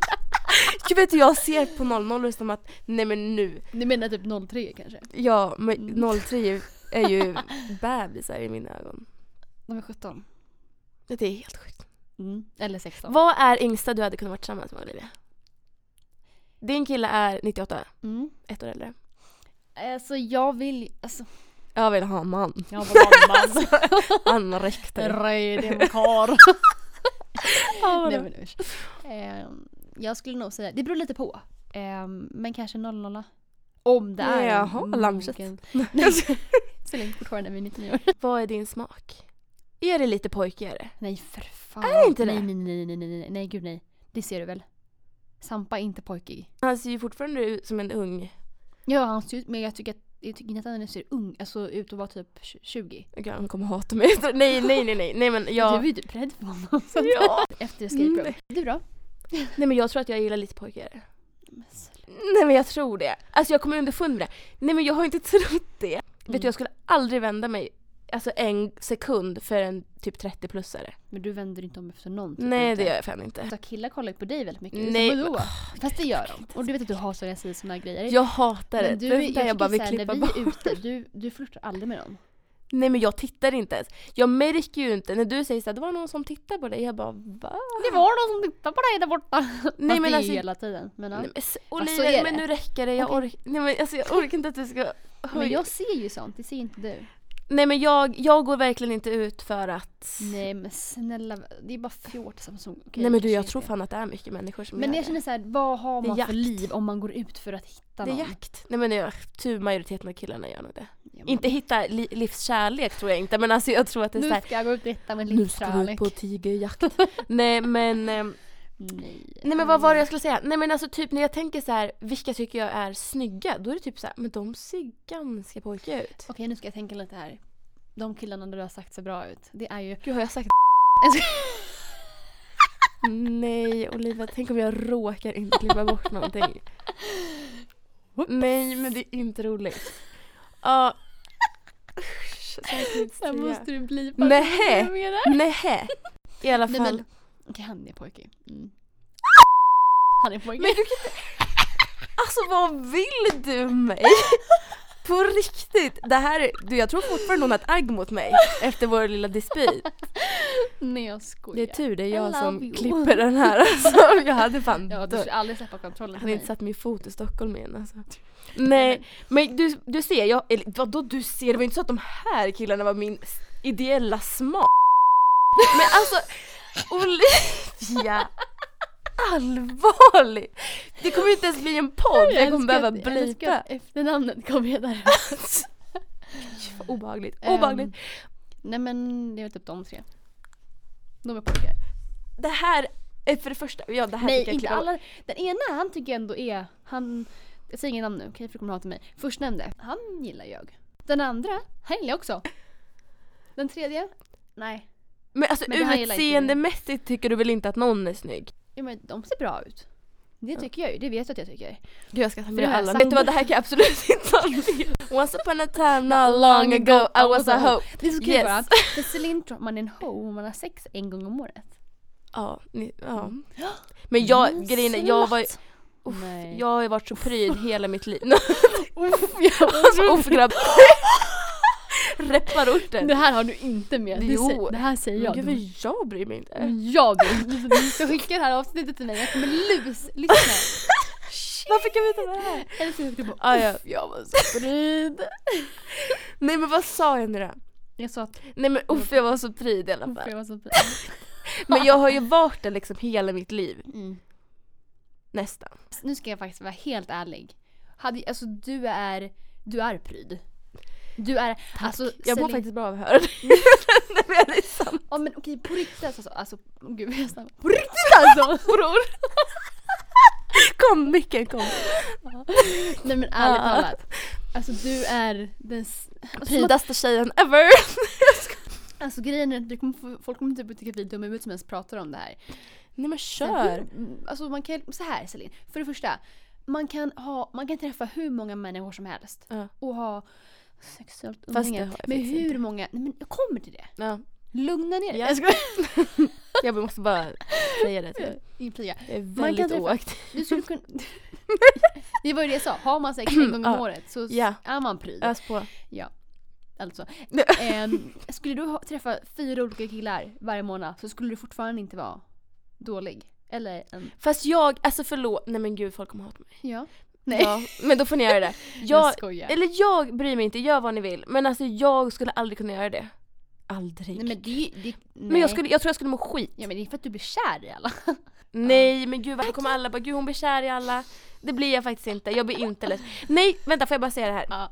Speaker 1: Gud vet du, jag ser på nollnollor som att, nej men nu.
Speaker 2: Du menar typ 03 kanske?
Speaker 1: Ja, men
Speaker 2: Mm.
Speaker 1: 03 är [laughs] ju bebisar i mina ögon.
Speaker 2: De är 17.
Speaker 1: Det är helt sjukt.
Speaker 2: Mm. Eller 16.
Speaker 1: Vad är yngsta du hade kunnat vara tillsammans med Olivia? Din kille är 98,
Speaker 2: Mm.
Speaker 1: ett år äldre.
Speaker 2: Alltså jag vill ju- alltså,
Speaker 1: Jag vill ha en man.
Speaker 2: jag vill ha [laughs] en man.
Speaker 1: Han [laughs] räckte.
Speaker 2: Röj din [laughs] karl.
Speaker 1: Ja,
Speaker 2: Nej men usch. Ehm, jag skulle nog säga, det beror lite på. Ehm, men kanske 00. Om det är
Speaker 1: Jaha, Lammkött. [laughs]
Speaker 2: Nej, [laughs] spelar inte fortfarande, vi är 99 år.
Speaker 1: Vad är din smak? Är det lite pojkigare?
Speaker 2: Nej för fan.
Speaker 1: Är det inte det?
Speaker 2: nej, Nej, nej, nej, nej, nej, nej, gud nej. Det ser du väl? Sampa är inte pojkig.
Speaker 1: Han ser ju fortfarande ut som en ung
Speaker 2: Ja, han ser ut, men jag tycker, att, jag tycker inte att han ser ung, alltså ut att vara typ 20.
Speaker 1: Gud, han kommer hata mig. [laughs] Nej, nej, nej, nej, nej men
Speaker 2: Du
Speaker 1: jag...
Speaker 2: är ju typ rädd för honom. Så.
Speaker 1: Ja.
Speaker 2: Efter escape room.
Speaker 1: Nej.
Speaker 2: Du då?
Speaker 1: [laughs] Nej men jag tror att jag gillar lite pojkigare. Nej men jag tror det. Alltså jag kommer underfund med det. Nej men jag har inte [laughs] trott det. Vet
Speaker 2: Mm.
Speaker 1: du jag skulle aldrig vända mig alltså en sekund för en typ 30-plussare.
Speaker 2: Men du vänder inte om efter någon? typ,
Speaker 1: Nej
Speaker 2: inte.
Speaker 1: det gör jag fan inte.
Speaker 2: Så Alltså, killar kollar ju på dig väldigt mycket.
Speaker 1: Nej,
Speaker 2: Nej. Så, vadå?
Speaker 1: men-
Speaker 2: Fast det gör de. Och du vet att du har psoriasis och såna här grejer.
Speaker 1: Jag hatar det.
Speaker 2: men
Speaker 1: det.
Speaker 2: du,
Speaker 1: är
Speaker 2: jag,
Speaker 1: där jag bara
Speaker 2: tycker
Speaker 1: vill
Speaker 2: såhär,
Speaker 1: klippa
Speaker 2: när
Speaker 1: bort.
Speaker 2: vi är ute, du, du flörtar aldrig med någon.
Speaker 1: Nej men jag tittar inte ens. Jag märker ju inte när du säger såhär, det var någon som tittade på dig. Jag bara va?
Speaker 2: Det var någon som tittade på dig där borta.
Speaker 1: men
Speaker 2: Fast det är ju
Speaker 1: alltså-
Speaker 2: hela tiden. Men, ja.
Speaker 1: Nej, men, s-
Speaker 2: Fast så
Speaker 1: Olivia,
Speaker 2: är
Speaker 1: men
Speaker 2: det.
Speaker 1: nu räcker det. Jag, ork- Nej, men, alltså, jag orkar inte att du ska...
Speaker 2: men jag ser ju sånt, det ser inte du.
Speaker 1: Nej men jag, jag går verkligen inte ut för att...
Speaker 2: Nej men snälla, det är bara fjortisar som... okej,
Speaker 1: Nej men du
Speaker 2: kanske
Speaker 1: jag
Speaker 2: inte.
Speaker 1: tror fan att det är mycket människor som
Speaker 2: Men
Speaker 1: gör
Speaker 2: jag
Speaker 1: det.
Speaker 2: känner såhär, vad har
Speaker 1: Det är
Speaker 2: man för
Speaker 1: jakt.
Speaker 2: liv om man går ut för att hitta
Speaker 1: Det
Speaker 2: någon?
Speaker 1: är jakt. Nej men jag, tur majoriteten av killarna gör nog det.
Speaker 2: Ja, men-
Speaker 1: Inte hitta li- livskärlek tror jag inte men alltså jag tror att det är
Speaker 2: Nu
Speaker 1: såhär
Speaker 2: ska jag gå ut och hitta min
Speaker 1: nu ska vi ut
Speaker 2: livskärlek.
Speaker 1: på tigerjakt. nej men, ehm,
Speaker 2: Nej.
Speaker 1: nej men vad
Speaker 2: Mm.
Speaker 1: var det jag skulle säga? Nej men alltså typ när jag tänker så här, vilka tycker jag är snygga? Då är det typ så här, men de ser ganska pojkiga ut.
Speaker 2: Okej nu ska jag tänka lite här. De killarna du har sagt ser bra ut. Det är ju...
Speaker 1: Gud har jag sagt [laughs] Nej Olivia, tänk om jag råkar inte klippa bort någonting. Nej men det är inte roligt. Ja. Usch, så här kan jag inte
Speaker 2: Sen
Speaker 1: säga.
Speaker 2: måste du bli
Speaker 1: Nähä.
Speaker 2: Nej
Speaker 1: Nej. I alla
Speaker 2: Nej,
Speaker 1: fall.
Speaker 2: men- Okej han är pojkig. [laughs] Mm. Han är pojkig.
Speaker 1: Men du kan inte... Alltså vad vill du mig? På riktigt! Det här, är- du, jag tror fortfarande hon har ett agg mot mig efter vår lilla dispyt.
Speaker 2: Nej jag skojar.
Speaker 1: Det är typ tur det är
Speaker 2: Oh, I
Speaker 1: jag
Speaker 2: love
Speaker 1: som
Speaker 2: you.
Speaker 1: klipper den här alltså. Jag hade fan
Speaker 2: Ja, du
Speaker 1: dött.
Speaker 2: skulle aldrig släppa kontrollen
Speaker 1: Han har
Speaker 2: till
Speaker 1: inte
Speaker 2: mig.
Speaker 1: satt min fot i Stockholm igen alltså. Nej, men du, du ser, jag, eller vadå du ser? Det var ju inte så att de här killarna var min s- ideella smak. Men alltså, Olivia! Allvarligt! Det kommer ju inte ens bli en podd, jag kommer behöva
Speaker 2: älskar att- jag älskar
Speaker 1: blipa.
Speaker 2: att Efternamnet kom jag där.
Speaker 1: Obehagligt, [laughs]
Speaker 2: Ehm.
Speaker 1: obehagligt.
Speaker 2: nej men det är väl typ de tre. De är pojkar.
Speaker 1: Det här, är för det första, ja det här fick
Speaker 2: Nej
Speaker 1: jag
Speaker 2: inte
Speaker 1: klippa bort.
Speaker 2: alla. Den ena han tycker jag ändå är, han, jag säger ingen namn nu okej för du kommer hata mig. Förstnämnde, han gillar jag. Den andra, han gillar jag också. Den tredje, nej.
Speaker 1: Men alltså
Speaker 2: Men det här gillar inte du.
Speaker 1: utseendemässigt tycker du väl inte att någon är snygg?
Speaker 2: Ja, men de ser bra ut. Det tycker jag ju, det vet du att jag tycker.
Speaker 1: Gud jag ska ta
Speaker 2: För det
Speaker 1: med
Speaker 2: här
Speaker 1: alla.
Speaker 2: sam-
Speaker 1: Vet du vad, det här kan jag absolut [laughs] inte ta med. Once upon a time not long ago I was a hope.
Speaker 2: Det är så kul
Speaker 1: Yes.
Speaker 2: bara. För Celine tror att man är en hoe om man har sex en gång om året.
Speaker 1: Ja, ni, ja. Men jag,
Speaker 2: Mm,
Speaker 1: grejen är, jag var ju-
Speaker 2: slut.
Speaker 1: uff,
Speaker 2: Nej.
Speaker 1: jag har ju varit så pryd hela mitt liv. [laughs]
Speaker 2: Uff, jag-
Speaker 1: alltså uff
Speaker 2: [laughs]
Speaker 1: grabb. Räpparorten.
Speaker 2: Det här har du inte med. Det,
Speaker 1: Jo.
Speaker 2: säger, det här säger
Speaker 1: Men
Speaker 2: jag. Mm.
Speaker 1: Gud vad jag bryr mig [laughs] inte.
Speaker 2: Ja du, du ska skicka det här avsnittet till mig. Jag kommer lus, lyssna.
Speaker 1: Varför kan vi inte vara här?
Speaker 2: Eller så du bara
Speaker 1: Ah, ja.
Speaker 2: jag var så pryd.
Speaker 1: Nej men vad sa jag nu då?
Speaker 2: Jag sa att
Speaker 1: Nej men uff jag var så pryd i alla
Speaker 2: uff,
Speaker 1: fall.
Speaker 2: jag var så pryd.
Speaker 1: Men jag har ju varit det liksom hela mitt liv.
Speaker 2: Mm.
Speaker 1: Nästan.
Speaker 2: Nu ska jag faktiskt vara helt ärlig. Hade, alltså du är, du är pryd. Du är, alltså
Speaker 1: Jag mår
Speaker 2: Celine-
Speaker 1: faktiskt bra av att höra det. [laughs] Nej, men det är sant.
Speaker 2: Ja men okej på riktigt alltså, alltså oh, gud jag snackar.
Speaker 1: [laughs]
Speaker 2: På riktigt alltså!
Speaker 1: Bror. Kom micken kom.
Speaker 2: Nej men ärligt
Speaker 1: Ja.
Speaker 2: talat. Alltså du är den, s-
Speaker 1: Prydaste tjejen ever.
Speaker 2: alltså grejen är att du kommer, få- folk kommer typ tycka att vi är dumma i huvudet som ens pratar om det här.
Speaker 1: Nej men kör.
Speaker 2: Mm, Alltså man kan, så här Celine, för det första. Man kan, ha, man kan träffa hur många människor som helst
Speaker 1: Ja.
Speaker 2: och ha sexuellt
Speaker 1: det
Speaker 2: umgänge
Speaker 1: har jag
Speaker 2: med
Speaker 1: faktiskt
Speaker 2: hur många, nej men jag kommer till det.
Speaker 1: Ja.
Speaker 2: Lugna ner dig.
Speaker 1: Ja.
Speaker 2: Jag skojar.
Speaker 1: [laughs] Jag måste bara säga det till [laughs] dig.
Speaker 2: eh, Infria.
Speaker 1: Jag är
Speaker 2: Man kan
Speaker 1: väldigt
Speaker 2: träffa-
Speaker 1: oaktiv.
Speaker 2: Du
Speaker 1: [laughs]
Speaker 2: skulle kunna... det var ju det jag sa, har man sex en gång om
Speaker 1: Ja.
Speaker 2: året så s-
Speaker 1: Ja.
Speaker 2: är man pryd.
Speaker 1: Ös på.
Speaker 2: Alltså. Ehm, skulle du ha, träffa fyra olika killar varje månad så skulle du fortfarande inte vara dålig. Eller en...
Speaker 1: Fast jag, alltså förlåt, nej men gud folk kommer hata mig.
Speaker 2: Ja. Nej.
Speaker 1: Ja, men då får ni [laughs] göra det.
Speaker 2: [laughs] Jag
Speaker 1: Jag,
Speaker 2: skojar.
Speaker 1: eller jag bryr mig inte, gör vad ni vill. Men alltså jag skulle aldrig kunna göra det. aldrig.
Speaker 2: Nej, men, det, är ju- det, nej.
Speaker 1: Men jag, skulle, jag tror jag skulle må skit.
Speaker 2: Ja men det är för att du blir kär i alla.
Speaker 1: Nej men gud varför kommer alla bara gud hon blir kär i alla. Det blir jag faktiskt inte, jag blir inte less. Nej vänta får jag bara säga det här.
Speaker 2: [laughs] Ja.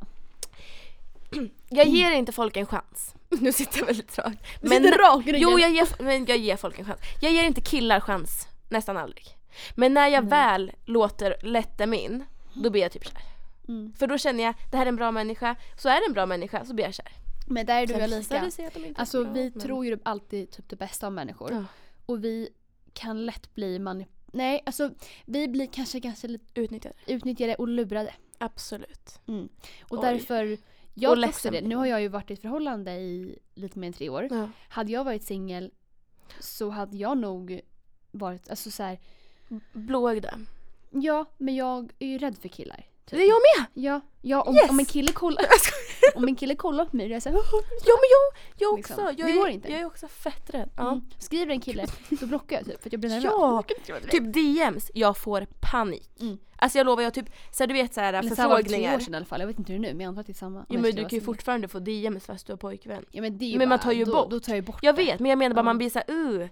Speaker 1: Jag ger inte folk en chans. [laughs] Nu sitter jag väldigt rakt.
Speaker 2: Men, Mm. Sitter rak i ryggen.
Speaker 1: Jo, jag ger, men jag ger folk en chans. Jag ger inte killar chans, nästan aldrig. Men när
Speaker 2: Mm.
Speaker 1: jag väl låter lätta min, då blir jag typ kär.
Speaker 2: Mm.
Speaker 1: För då känner jag, det här är en bra människa, så är det en bra människa så blir jag kär.
Speaker 2: Men där är du och jag
Speaker 1: Sen visar
Speaker 2: lika.
Speaker 1: det sig att de inte är
Speaker 2: Alltså
Speaker 1: bra,
Speaker 2: vi
Speaker 1: men-
Speaker 2: tror ju alltid typ det bästa om människor.
Speaker 1: Ja.
Speaker 2: Och vi kan lätt bli manip... Nej, alltså vi blir kanske ganska lite
Speaker 1: Utnyttjade,
Speaker 2: utnyttjade och lurade.
Speaker 1: absolut.
Speaker 2: Och
Speaker 1: Oj.
Speaker 2: därför, jag tror också
Speaker 1: ledsen
Speaker 2: det.
Speaker 1: blir
Speaker 2: Nu
Speaker 1: man.
Speaker 2: har jag ju varit i ett förhållande i lite mer än tre år.
Speaker 1: Ja.
Speaker 2: Hade jag varit singel så hade jag nog varit, alltså så här,
Speaker 1: Blåögda.
Speaker 2: ja men jag är ju rädd för killar.
Speaker 1: Det är jag med!
Speaker 2: Ja, ja om,
Speaker 1: Yes!
Speaker 2: om en kille kollar om en kille kollar på mig då är jag såhär
Speaker 1: Ja men jag, jag också.
Speaker 2: Liksom.
Speaker 1: Jag,
Speaker 2: Det
Speaker 1: är,
Speaker 2: går inte.
Speaker 1: jag är också fett rädd. Ja.
Speaker 2: mm. Skriver en kille så blockar jag typ för att jag blir nervös.
Speaker 1: Ja! Typ DMs, jag får panik.
Speaker 2: Mm.
Speaker 1: Alltså jag lovar, jag typ, så här, du vet såhär
Speaker 2: Eller så här var det för tre år
Speaker 1: förfrågningar.
Speaker 2: sedan i alla fall, jag vet inte hur det är nu men jag antar att det är samma. om
Speaker 1: Jo
Speaker 2: jag
Speaker 1: men
Speaker 2: skulle
Speaker 1: du
Speaker 2: vara
Speaker 1: kan ju
Speaker 2: singel.
Speaker 1: fortfarande få DMs fast du har pojkvän.
Speaker 2: Ja, men det är ju
Speaker 1: Men man
Speaker 2: bara-
Speaker 1: tar ju
Speaker 2: då,
Speaker 1: bort
Speaker 2: Då tar jag bort
Speaker 1: Jag
Speaker 2: det.
Speaker 1: vet men jag menar bara
Speaker 2: Ja.
Speaker 1: man blir såhär uh.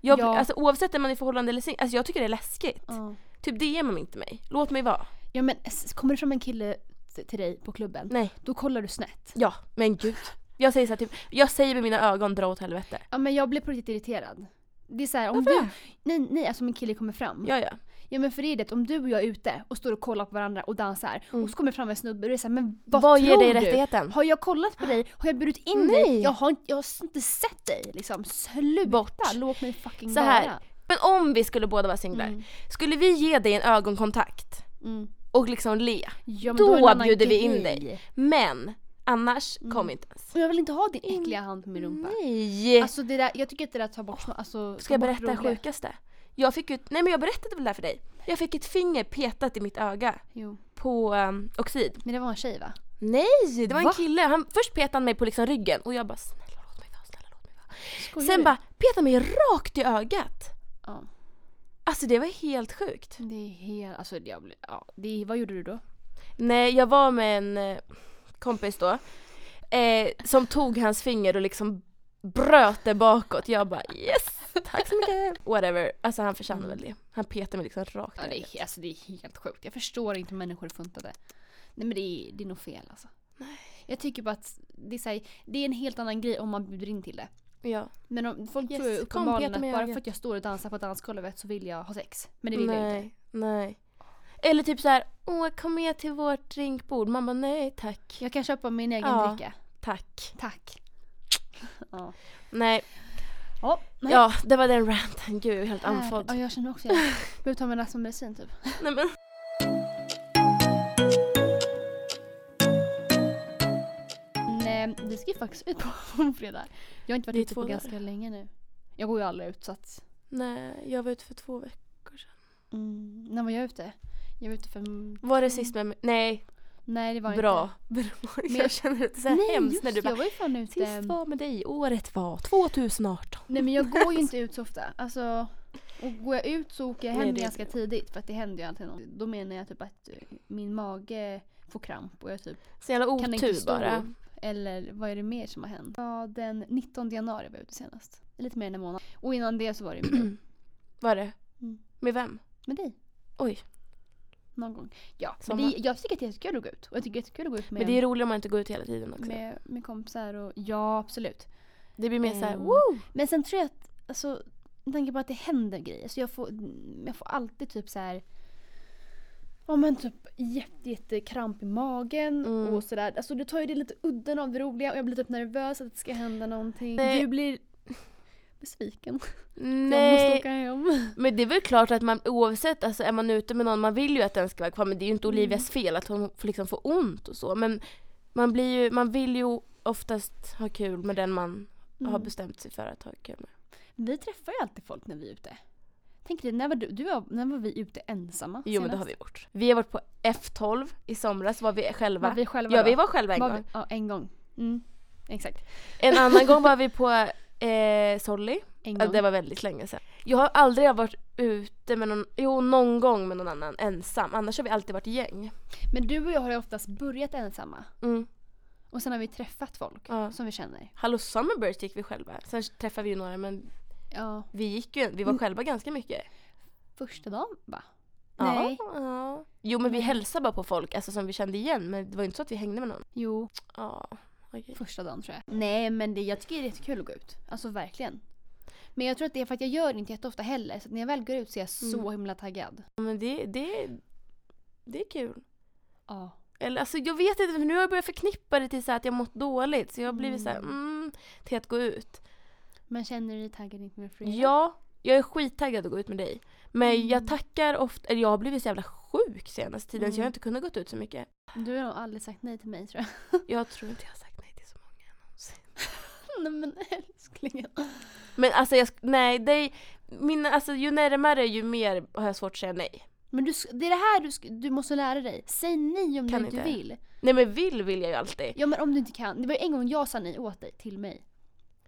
Speaker 1: Jag,
Speaker 2: Ja.
Speaker 1: Alltså oavsett om man är i förhållande eller singel, alltså jag tycker det är läskigt.
Speaker 2: Ja.
Speaker 1: Typ DMa inte mig, låt mig vara.
Speaker 2: Ja men s- kommer det fram en kille t- till dig på klubben,
Speaker 1: Nej.
Speaker 2: då kollar du snett.
Speaker 1: Ja, men gud. Jag säger såhär typ, jag säger med mina ögon dra åt helvete.
Speaker 2: Ja men jag blir på riktigt irriterad. Det är såhär om
Speaker 1: Varför
Speaker 2: du, nej nej alltså om en kille kommer fram. Ja.
Speaker 1: Ja ja.
Speaker 2: men för det är det att om du och jag är ute och står och kollar på varandra och dansar
Speaker 1: Mm.
Speaker 2: och så kommer fram en snubbe och det är såhär men vad,
Speaker 1: Vad, ger
Speaker 2: tror
Speaker 1: dig
Speaker 2: du?
Speaker 1: rättigheten?
Speaker 2: Har jag kollat på dig? Har jag bjudit in
Speaker 1: Nej.
Speaker 2: dig? Jag har, inte- jag har inte sett dig liksom. Sluta!
Speaker 1: Bort.
Speaker 2: Låt mig fucking
Speaker 1: Så här.
Speaker 2: vara.
Speaker 1: Men om vi skulle båda vara singlar,
Speaker 2: Mm.
Speaker 1: skulle vi ge dig en ögonkontakt
Speaker 2: Mm.
Speaker 1: och liksom le?
Speaker 2: Ja, men
Speaker 1: Då
Speaker 2: är det en annan
Speaker 1: bjuder vi in
Speaker 2: grej.
Speaker 1: dig. Men annars, kom inte ens.
Speaker 2: Och jag vill inte ha din äckliga hand på min rumpa.
Speaker 1: Mm. Nej!
Speaker 2: Alltså det där, jag tycker att det där tar bort sma- alltså,
Speaker 1: Ska jag
Speaker 2: tar bort
Speaker 1: berätta det
Speaker 2: roliga-
Speaker 1: sjukaste? Jag fick ut, nej men jag berättade väl det här för dig? Jag fick ett finger petat i mitt öga
Speaker 2: Jo.
Speaker 1: på um, oxid.
Speaker 2: Men det var en tjej va?
Speaker 1: Nej! Det var en
Speaker 2: Va?
Speaker 1: kille. Han, först petade han mig på liksom ryggen och jag bara snälla låt mig vara, snälla låt mig vara.
Speaker 2: Skojar
Speaker 1: Sen
Speaker 2: du?
Speaker 1: bara petade mig rakt i ögat.
Speaker 2: Ja.
Speaker 1: Alltså det var helt sjukt.
Speaker 2: Det är helt, alltså jag blir, ja. Det, vad gjorde du då?
Speaker 1: Nej jag var med en eh, kompis då eh, som tog hans finger och liksom bröt det bakåt. Jag bara yes! Tack så mycket! Whatever. Alltså han förtjänade väl det. Han petade mig liksom rakt i
Speaker 2: Mm. Ja, det,
Speaker 1: ögat.
Speaker 2: är, alltså, det är helt sjukt. Jag förstår inte hur människor funtade. Nej men det är, det är nog fel alltså. Nej. Jag tycker bara att det är, så här, det är en helt annan grej om man bjuder in till det.
Speaker 1: Ja.
Speaker 2: Men om, folk
Speaker 1: Yes,
Speaker 2: tror ju
Speaker 1: kom,
Speaker 2: uppenbarligen
Speaker 1: peta
Speaker 2: att
Speaker 1: mig i
Speaker 2: bara
Speaker 1: ögat.
Speaker 2: för att jag står och dansar på dansgolvet så vill jag ha sex. Men det vill
Speaker 1: nej,
Speaker 2: jag inte.
Speaker 1: Nej. Eller typ så här, åh kom med till vårt drinkbord. Man bara nej tack.
Speaker 2: Jag kan köpa min egen
Speaker 1: Ja.
Speaker 2: dricka.
Speaker 1: Tack.
Speaker 2: Tack. [laughs] Ja.
Speaker 1: Nej.
Speaker 2: Ja, nej.
Speaker 1: Ja, det var den ranten. Gud, jag är helt
Speaker 2: Här- Ja,
Speaker 1: andfådd.
Speaker 2: jag känner också jag behöver ta mig en medicin typ.
Speaker 1: Nej men.
Speaker 2: Men, eh, vi ska ju faktiskt ut på, [laughs] på fredag. Jag har inte
Speaker 1: Det är
Speaker 2: varit ute
Speaker 1: två
Speaker 2: på
Speaker 1: dagar.
Speaker 2: ganska länge nu. Jag går ju aldrig ut så att...
Speaker 1: Nej, jag var ute för två veckor.
Speaker 2: Mm, när var jag ute? Jag var ute för...
Speaker 1: Var det sist med mig? Nej,
Speaker 2: Nej det Mm. var
Speaker 1: bra.
Speaker 2: inte.
Speaker 1: Bra. [laughs]
Speaker 2: Men-
Speaker 1: Jag känner det så här
Speaker 2: Nej
Speaker 1: hemskt
Speaker 2: just
Speaker 1: när du
Speaker 2: det,
Speaker 1: bara,
Speaker 2: jag var ju fan ute.
Speaker 1: sist var med dig, året var 2018.
Speaker 2: Nej men jag går ju inte ut så ofta. Alltså, och går jag ut så åker jag hem
Speaker 1: Nej, det är
Speaker 2: ganska
Speaker 1: det.
Speaker 2: tidigt för att det händer ju alltid något. Då menar jag typ att eh, min mage får kramp och jag typ
Speaker 1: Så jävla
Speaker 2: kan inte
Speaker 1: otur
Speaker 2: stå upp.
Speaker 1: bara.
Speaker 2: Eller vad är det mer som har hänt? Ja, den 19 januari var jag ute senast. Lite mer än en månad. Och innan det så var det med dig.
Speaker 1: [clears throat] Var det?
Speaker 2: Mm.
Speaker 1: Med vem?
Speaker 2: Med dig.
Speaker 1: Oj.
Speaker 2: Någon gång. Ja, men
Speaker 1: Sommar.
Speaker 2: det, jag tycker att det är jättekul att gå ut. Och jag tycker att det är jättekul att gå ut
Speaker 1: Men
Speaker 2: med,
Speaker 1: det är roligare om man inte går ut hela tiden också.
Speaker 2: med, med kompisar och ja, absolut.
Speaker 1: Det blir mer såhär,
Speaker 2: Ehm,
Speaker 1: woo!
Speaker 2: Men sen tror jag att, alltså, med tanke på att det händer grejer. Så jag får, jag får alltid typ så här. Ja men typ jätte, jätte kramp i magen
Speaker 1: Mm.
Speaker 2: och sådär. Alltså det tar ju det lite udden av det roliga och jag blir typ nervös att det ska hända någonting.
Speaker 1: Nej.
Speaker 2: Du blir besviken. [laughs] Jag måste
Speaker 1: Nej.
Speaker 2: åka hem.
Speaker 1: Men det är väl klart att man oavsett, alltså är man ute med någon, man vill ju att den ska vara kvar. Men det är ju inte Olivias
Speaker 2: Mm.
Speaker 1: fel att hon får liksom får ont och så. Men man, blir ju, man vill ju oftast ha kul med den man har
Speaker 2: Mm.
Speaker 1: bestämt sig för att ha kul med.
Speaker 2: Vi träffar ju alltid folk när vi är ute. Tänk dig, när var, du, du, var- när var vi ute ensamma
Speaker 1: Jo men det har vi gjort. Vi har varit på F12 i somras, var vi själva.
Speaker 2: Var vi själva
Speaker 1: ja
Speaker 2: då?
Speaker 1: vi var själva en
Speaker 2: Var vi-
Speaker 1: gång.
Speaker 2: Ja, en gång. Mm. Exakt.
Speaker 1: En annan gång var vi på eh, Solly.
Speaker 2: En
Speaker 1: Ja,
Speaker 2: gång.
Speaker 1: det var väldigt länge sedan. Jag har aldrig varit ute med någon, jo någon gång med någon annan ensam. Annars har vi alltid varit gäng.
Speaker 2: Men du och jag har ju oftast börjat ensamma.
Speaker 1: Mm.
Speaker 2: Och sen har vi träffat folk
Speaker 1: Ja.
Speaker 2: som vi känner.
Speaker 1: Hallå Summerburst gick vi själva. Sen träffade vi ju några men
Speaker 2: Ja,
Speaker 1: vi gick ju, vi var själva ganska mycket.
Speaker 2: första dagen va? Nej.
Speaker 1: Ja, ja. Jo men vi hälsade bara på folk alltså, som vi kände igen men det var ju inte så att vi hängde med någon.
Speaker 2: Jo,
Speaker 1: Ja, okej.
Speaker 2: första dagen tror jag. Nej men det, jag tycker det är jättekul att gå ut. Alltså verkligen. Men jag tror att det är för att jag gör det inte jätteofta heller. Så att när jag väl går ut så är jag så
Speaker 1: Mm.
Speaker 2: himla taggad.
Speaker 1: Ja, Men det, det, det är kul.
Speaker 2: Ja.
Speaker 1: Eller alltså jag vet inte, för nu har jag börjat förknippa det till så här att jag mått dåligt. Så jag har blivit så här, mm, till att gå ut.
Speaker 2: Men känner du Mm. dig taggad inför fredag?
Speaker 1: Ja, jag är skittaggad att gå ut med dig. Men jag tackar ofta, eller jag har blivit så jävla sjuk senaste tiden
Speaker 2: Mm.
Speaker 1: så jag har inte kunnat gått ut så
Speaker 2: [laughs]
Speaker 1: mycket.
Speaker 2: Du har nog aldrig sagt nej till mig tror jag.
Speaker 1: Jag tror inte jag har sagt nej till så många någonsin.
Speaker 2: [laughs] nej men älsklingen.
Speaker 1: Men alltså jag, sk- nej, det är, min, alltså ju närmare ju mer har jag svårt att säga nej.
Speaker 2: Men du, sk- det är det här du, sk- du måste lära dig. Säg nej om
Speaker 1: Kan
Speaker 2: du inte
Speaker 1: inte.
Speaker 2: vill.
Speaker 1: Nej men vill vill jag ju alltid.
Speaker 2: Ja men om du inte kan. Det var ju en gång jag sa nej åt dig, till mig.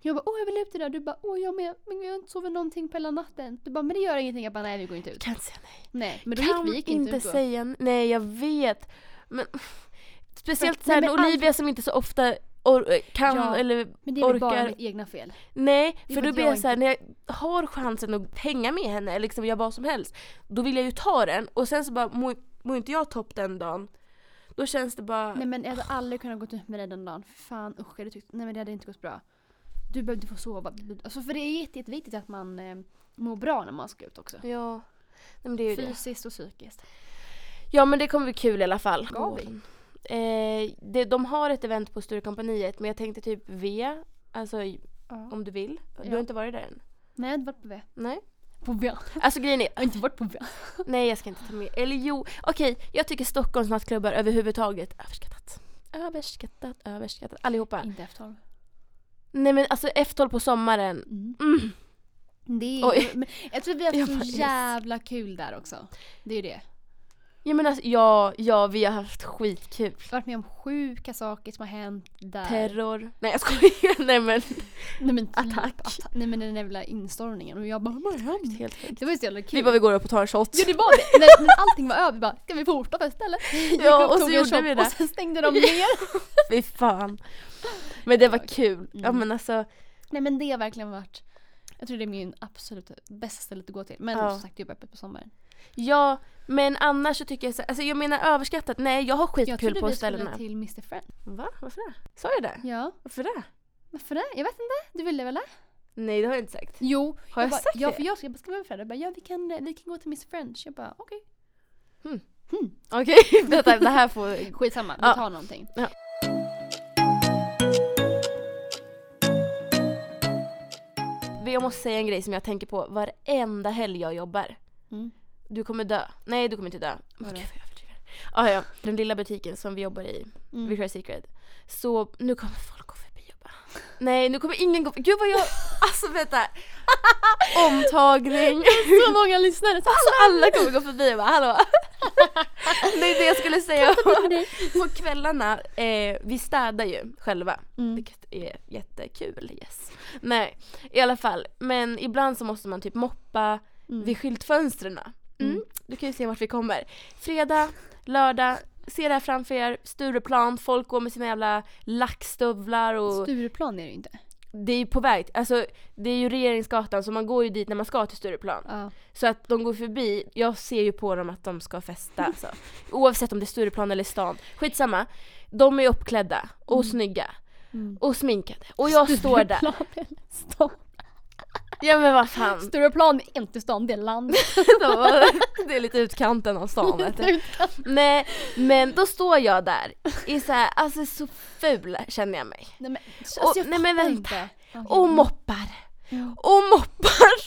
Speaker 2: Jag bara åh jag vill ut idag. Du bara åh jag med. Men jag har inte sovit någonting på hela natten. Du bara men det gör ingenting. Jag bara nej vi går inte ut.
Speaker 1: Kan inte säga nej.
Speaker 2: Nej men då
Speaker 1: kan
Speaker 2: gick vi gick
Speaker 1: inte
Speaker 2: ut då.
Speaker 1: säga n- nej, jag vet. Men [laughs] speciellt
Speaker 2: För-
Speaker 1: så här,
Speaker 2: nej, men
Speaker 1: när Olivia som inte så ofta or- eh, kan
Speaker 2: Ja.
Speaker 1: eller
Speaker 2: Men det är väl bara
Speaker 1: orkar-
Speaker 2: mitt egna fel.
Speaker 1: Nej,
Speaker 2: Det
Speaker 1: för
Speaker 2: är för
Speaker 1: då
Speaker 2: att
Speaker 1: blir
Speaker 2: jag
Speaker 1: jag såhär, när jag har chansen att hänga med henne, eller liksom göra vad som helst, då vill jag ju ta den och sen så bara, mår mår inte jag topp den dagen, då känns det bara...
Speaker 2: Nej men jag hade aldrig kunnat gått ut med dig den dagen. Fan usch, jag hade tyckt, nej men det hade inte gått bra. Du behövde få sova. Du- Alltså för det är jätte- jätteviktigt att man eh, mår bra när man ska ut också.
Speaker 1: Ja. Nej, men det är ju det.
Speaker 2: Fysiskt och psykiskt.
Speaker 1: Ja men det kommer bli kul i alla fall.
Speaker 2: Ska vi?
Speaker 1: Eh, det, de har ett event på Sturecompagniet men jag tänkte typ V, alltså i-
Speaker 2: Ja.
Speaker 1: om du vill. Du
Speaker 2: Ja.
Speaker 1: har inte varit där än?
Speaker 2: Nej jag hade varit på V. [laughs]
Speaker 1: Nej.
Speaker 2: På V. Jag
Speaker 1: Alltså grejen är, [laughs]
Speaker 2: har inte varit på V.
Speaker 1: nej jag ska inte ta med, eller jo, okej jag tycker Stockholms nattklubbar överhuvudtaget, överskattat. Överskattat, överskattat, allihopa.
Speaker 2: Inte efter tolv.
Speaker 1: Nej men alltså F12 på sommaren.
Speaker 2: Mm.
Speaker 1: Mm.
Speaker 2: Det
Speaker 1: Oj.
Speaker 2: är, men jag tror vi har
Speaker 1: [laughs] Jag
Speaker 2: haft
Speaker 1: bara,
Speaker 2: så
Speaker 1: yes.
Speaker 2: jävla kul där också. Det är ju det.
Speaker 1: Ja men alltså, ja, ja vi har haft skitkul.
Speaker 2: Varit med om sjuka saker som har hänt där.
Speaker 1: Terror. Nej jag skojar. [laughs] Nej men.
Speaker 2: nej men typ
Speaker 1: Attack.
Speaker 2: atta- nej men den jävla instormningen och jag bara vad har hänt?
Speaker 1: Helt sjukt.
Speaker 2: Det var ju så jävla kul.
Speaker 1: Vi bara vi går upp och tar en shot.
Speaker 2: Ja det var det. När, när allting var över vi bara, ska vi
Speaker 1: [laughs]
Speaker 2: fortsätta istället? Gick
Speaker 1: Ja,
Speaker 2: upp,
Speaker 1: och
Speaker 2: tog
Speaker 1: så
Speaker 2: en
Speaker 1: gjorde
Speaker 2: shot,
Speaker 1: vi det.
Speaker 2: Och sen
Speaker 1: [laughs]
Speaker 2: stängde de ner.
Speaker 1: Fy fan. Men det var
Speaker 2: Ja,
Speaker 1: kul. Ja
Speaker 2: Mm.
Speaker 1: men alltså.
Speaker 2: Nej men det har verkligen varit, jag tror det är min absolut bästa ställe att gå till. Men
Speaker 1: Ja.
Speaker 2: som sagt det är ju öppet på sommaren.
Speaker 1: Ja men annars så tycker jag så, alltså jag menar överskattat. Nej jag har
Speaker 2: Jag
Speaker 1: skitkul
Speaker 2: trodde
Speaker 1: på
Speaker 2: vi skulle
Speaker 1: ställena.
Speaker 2: till Mr Friend.
Speaker 1: Va? Varför det? Sa jag det?
Speaker 2: Ja.
Speaker 1: Varför det?
Speaker 2: Varför det? Jag vet inte. Du ville väl det?
Speaker 1: Nej det har jag inte sagt.
Speaker 2: Jo.
Speaker 1: Har jag,
Speaker 2: bara,
Speaker 1: sagt
Speaker 2: ja,
Speaker 1: det?
Speaker 2: för jag, jag bara, ska vi vara föräldrar? Jag bara, ja vi kan, vi kan gå till Mr French. Jag bara, okej.
Speaker 1: Okej [laughs] detta, det här får.
Speaker 2: Skitsamma, vi
Speaker 1: Ja.
Speaker 2: tar någonting.
Speaker 1: Ja. Jag måste säga en grej som jag tänker på varenda helg jag jobbar.
Speaker 2: Mm.
Speaker 1: Du kommer dö. Nej du kommer inte dö. Men
Speaker 2: Vadå?
Speaker 1: gud vad jag överdriver. Ah, ja, den lilla butiken som vi jobbar i,
Speaker 2: Mm.
Speaker 1: Victoria's Secret. Så nu kommer folk gå förbi och bara Nej nu kommer ingen gå Gud vad jag,
Speaker 2: [laughs]
Speaker 1: alltså vänta. Omtagning.
Speaker 2: [laughs] Så många lyssnare. Så
Speaker 1: Alltså alla kommer gå förbi och bara
Speaker 2: [laughs]
Speaker 1: hallå. Det är det jag skulle säga. [laughs] På kvällarna, eh, vi städar ju själva.
Speaker 2: Mm.
Speaker 1: Vilket är jättekul, yes. Nej, i alla fall. Men ibland så måste man typ moppa
Speaker 2: Mm.
Speaker 1: vid skyltfönstren. Mm.
Speaker 2: Mm.
Speaker 1: Du kan ju se vart vi kommer. Fredag, lördag, se det här framför er, Stureplan, folk går med sina jävla lackstövlar och
Speaker 2: Stureplan är det ju inte.
Speaker 1: det är ju på väg, alltså det är ju Regeringsgatan så man går ju dit när man ska till Stureplan.
Speaker 2: Ja.
Speaker 1: Så att de går förbi, jag ser ju på dem att de ska festa
Speaker 2: [laughs]
Speaker 1: alltså. Oavsett om det är Stureplan eller stan. Skitsamma. De är uppklädda och snygga
Speaker 2: Mm.
Speaker 1: och sminkade. Och jag står där. Mm.
Speaker 2: Stureplan eller stan?
Speaker 1: Ja men vad fan.
Speaker 2: Stureplan är inte stan, det är land.
Speaker 1: [laughs] Det är lite utkanten av stan vet du.
Speaker 2: Utan-
Speaker 1: Nej men då står jag där i så här, alltså så ful känner jag mig.
Speaker 2: nej men, alltså,
Speaker 1: Och-
Speaker 2: jag
Speaker 1: nej, men
Speaker 2: fattar
Speaker 1: vänta.
Speaker 2: inte. Okej.
Speaker 1: Och moppar.
Speaker 2: Ja.
Speaker 1: Och moppar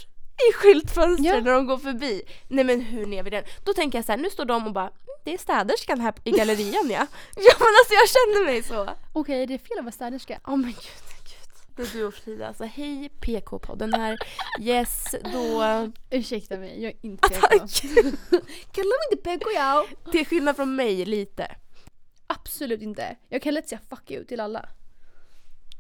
Speaker 1: i skyltfönstren
Speaker 2: Ja.
Speaker 1: när de går förbi. Nej men hur ner vi den? Då tänker jag så här, nu står de och bara "Mm, det är städerskan här i gallerian [laughs] ja. Ja men alltså jag känner mig så.
Speaker 2: Okej, det är fel att vara städerska.
Speaker 1: Åh men gud, gud. Det är du och Frida alltså. Hej PK-podden här. Yes, då.
Speaker 2: Ursäkta mig, jag är inte
Speaker 1: Tack. [laughs]
Speaker 2: Kallar mig inte PK jag?
Speaker 1: Till skillnad från mig lite.
Speaker 2: Absolut inte. Jag kan lätt säga fuck you till alla.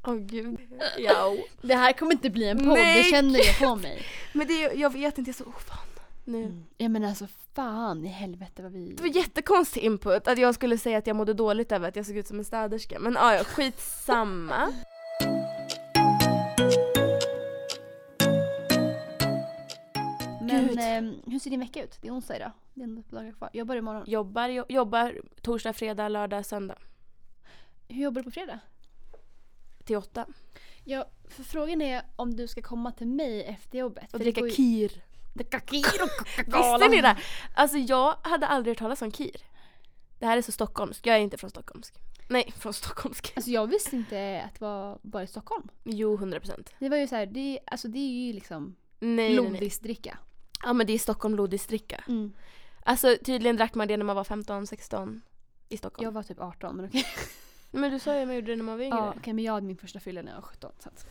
Speaker 1: Åh gud. Ja.
Speaker 2: Det här kommer inte bli en podd,
Speaker 1: Nej,
Speaker 2: det känner jag på mig.
Speaker 1: Men det, är- jag vet inte, jag är så ovan. nu.
Speaker 2: Ja men alltså fan i helvete vad vi...
Speaker 1: Det var jättekonstig input att jag skulle säga att jag mådde dåligt över att jag såg ut som en städerska. Men ah, ja, skitsamma.
Speaker 2: Men
Speaker 1: Gud.
Speaker 2: ehm, hur ser din vecka ut? Det är onsdag idag. Det är ändå ett par dagar kvar. Jag börjar imorgon.
Speaker 1: Jobbar, jo- jobbar torsdag, fredag, lördag, söndag.
Speaker 2: Hur jobbar du på fredag?
Speaker 1: Till åtta.
Speaker 2: Ja, för frågan är om du ska komma till mig efter jobbet.
Speaker 1: Och
Speaker 2: för det
Speaker 1: dricka
Speaker 2: går ju-
Speaker 1: kir.
Speaker 2: Dricka kir och Coca-Cola.
Speaker 1: Visste ni det? Alltså jag hade aldrig hört talas om kir. Det här är så stockholmskt. Jag är inte från stockholmsk. Nej, från stockholmsk.
Speaker 2: Alltså jag visste inte att det var bara i Stockholm.
Speaker 1: Jo, 100%. procent.
Speaker 2: Det var ju så här, det, alltså det är ju liksom
Speaker 1: Nej, nej, nej.
Speaker 2: lodisdricka.
Speaker 1: Ja men det är Stockholm lodisdricka.
Speaker 2: Mm.
Speaker 1: Alltså tydligen drack man det när man var 15, 16 i Stockholm.
Speaker 2: Jag var typ 18 men okej.
Speaker 1: Men du sa ju att man gjorde det när man var yngre.
Speaker 2: Ja, okej men jag hade min första fylla när jag var 17. Så att.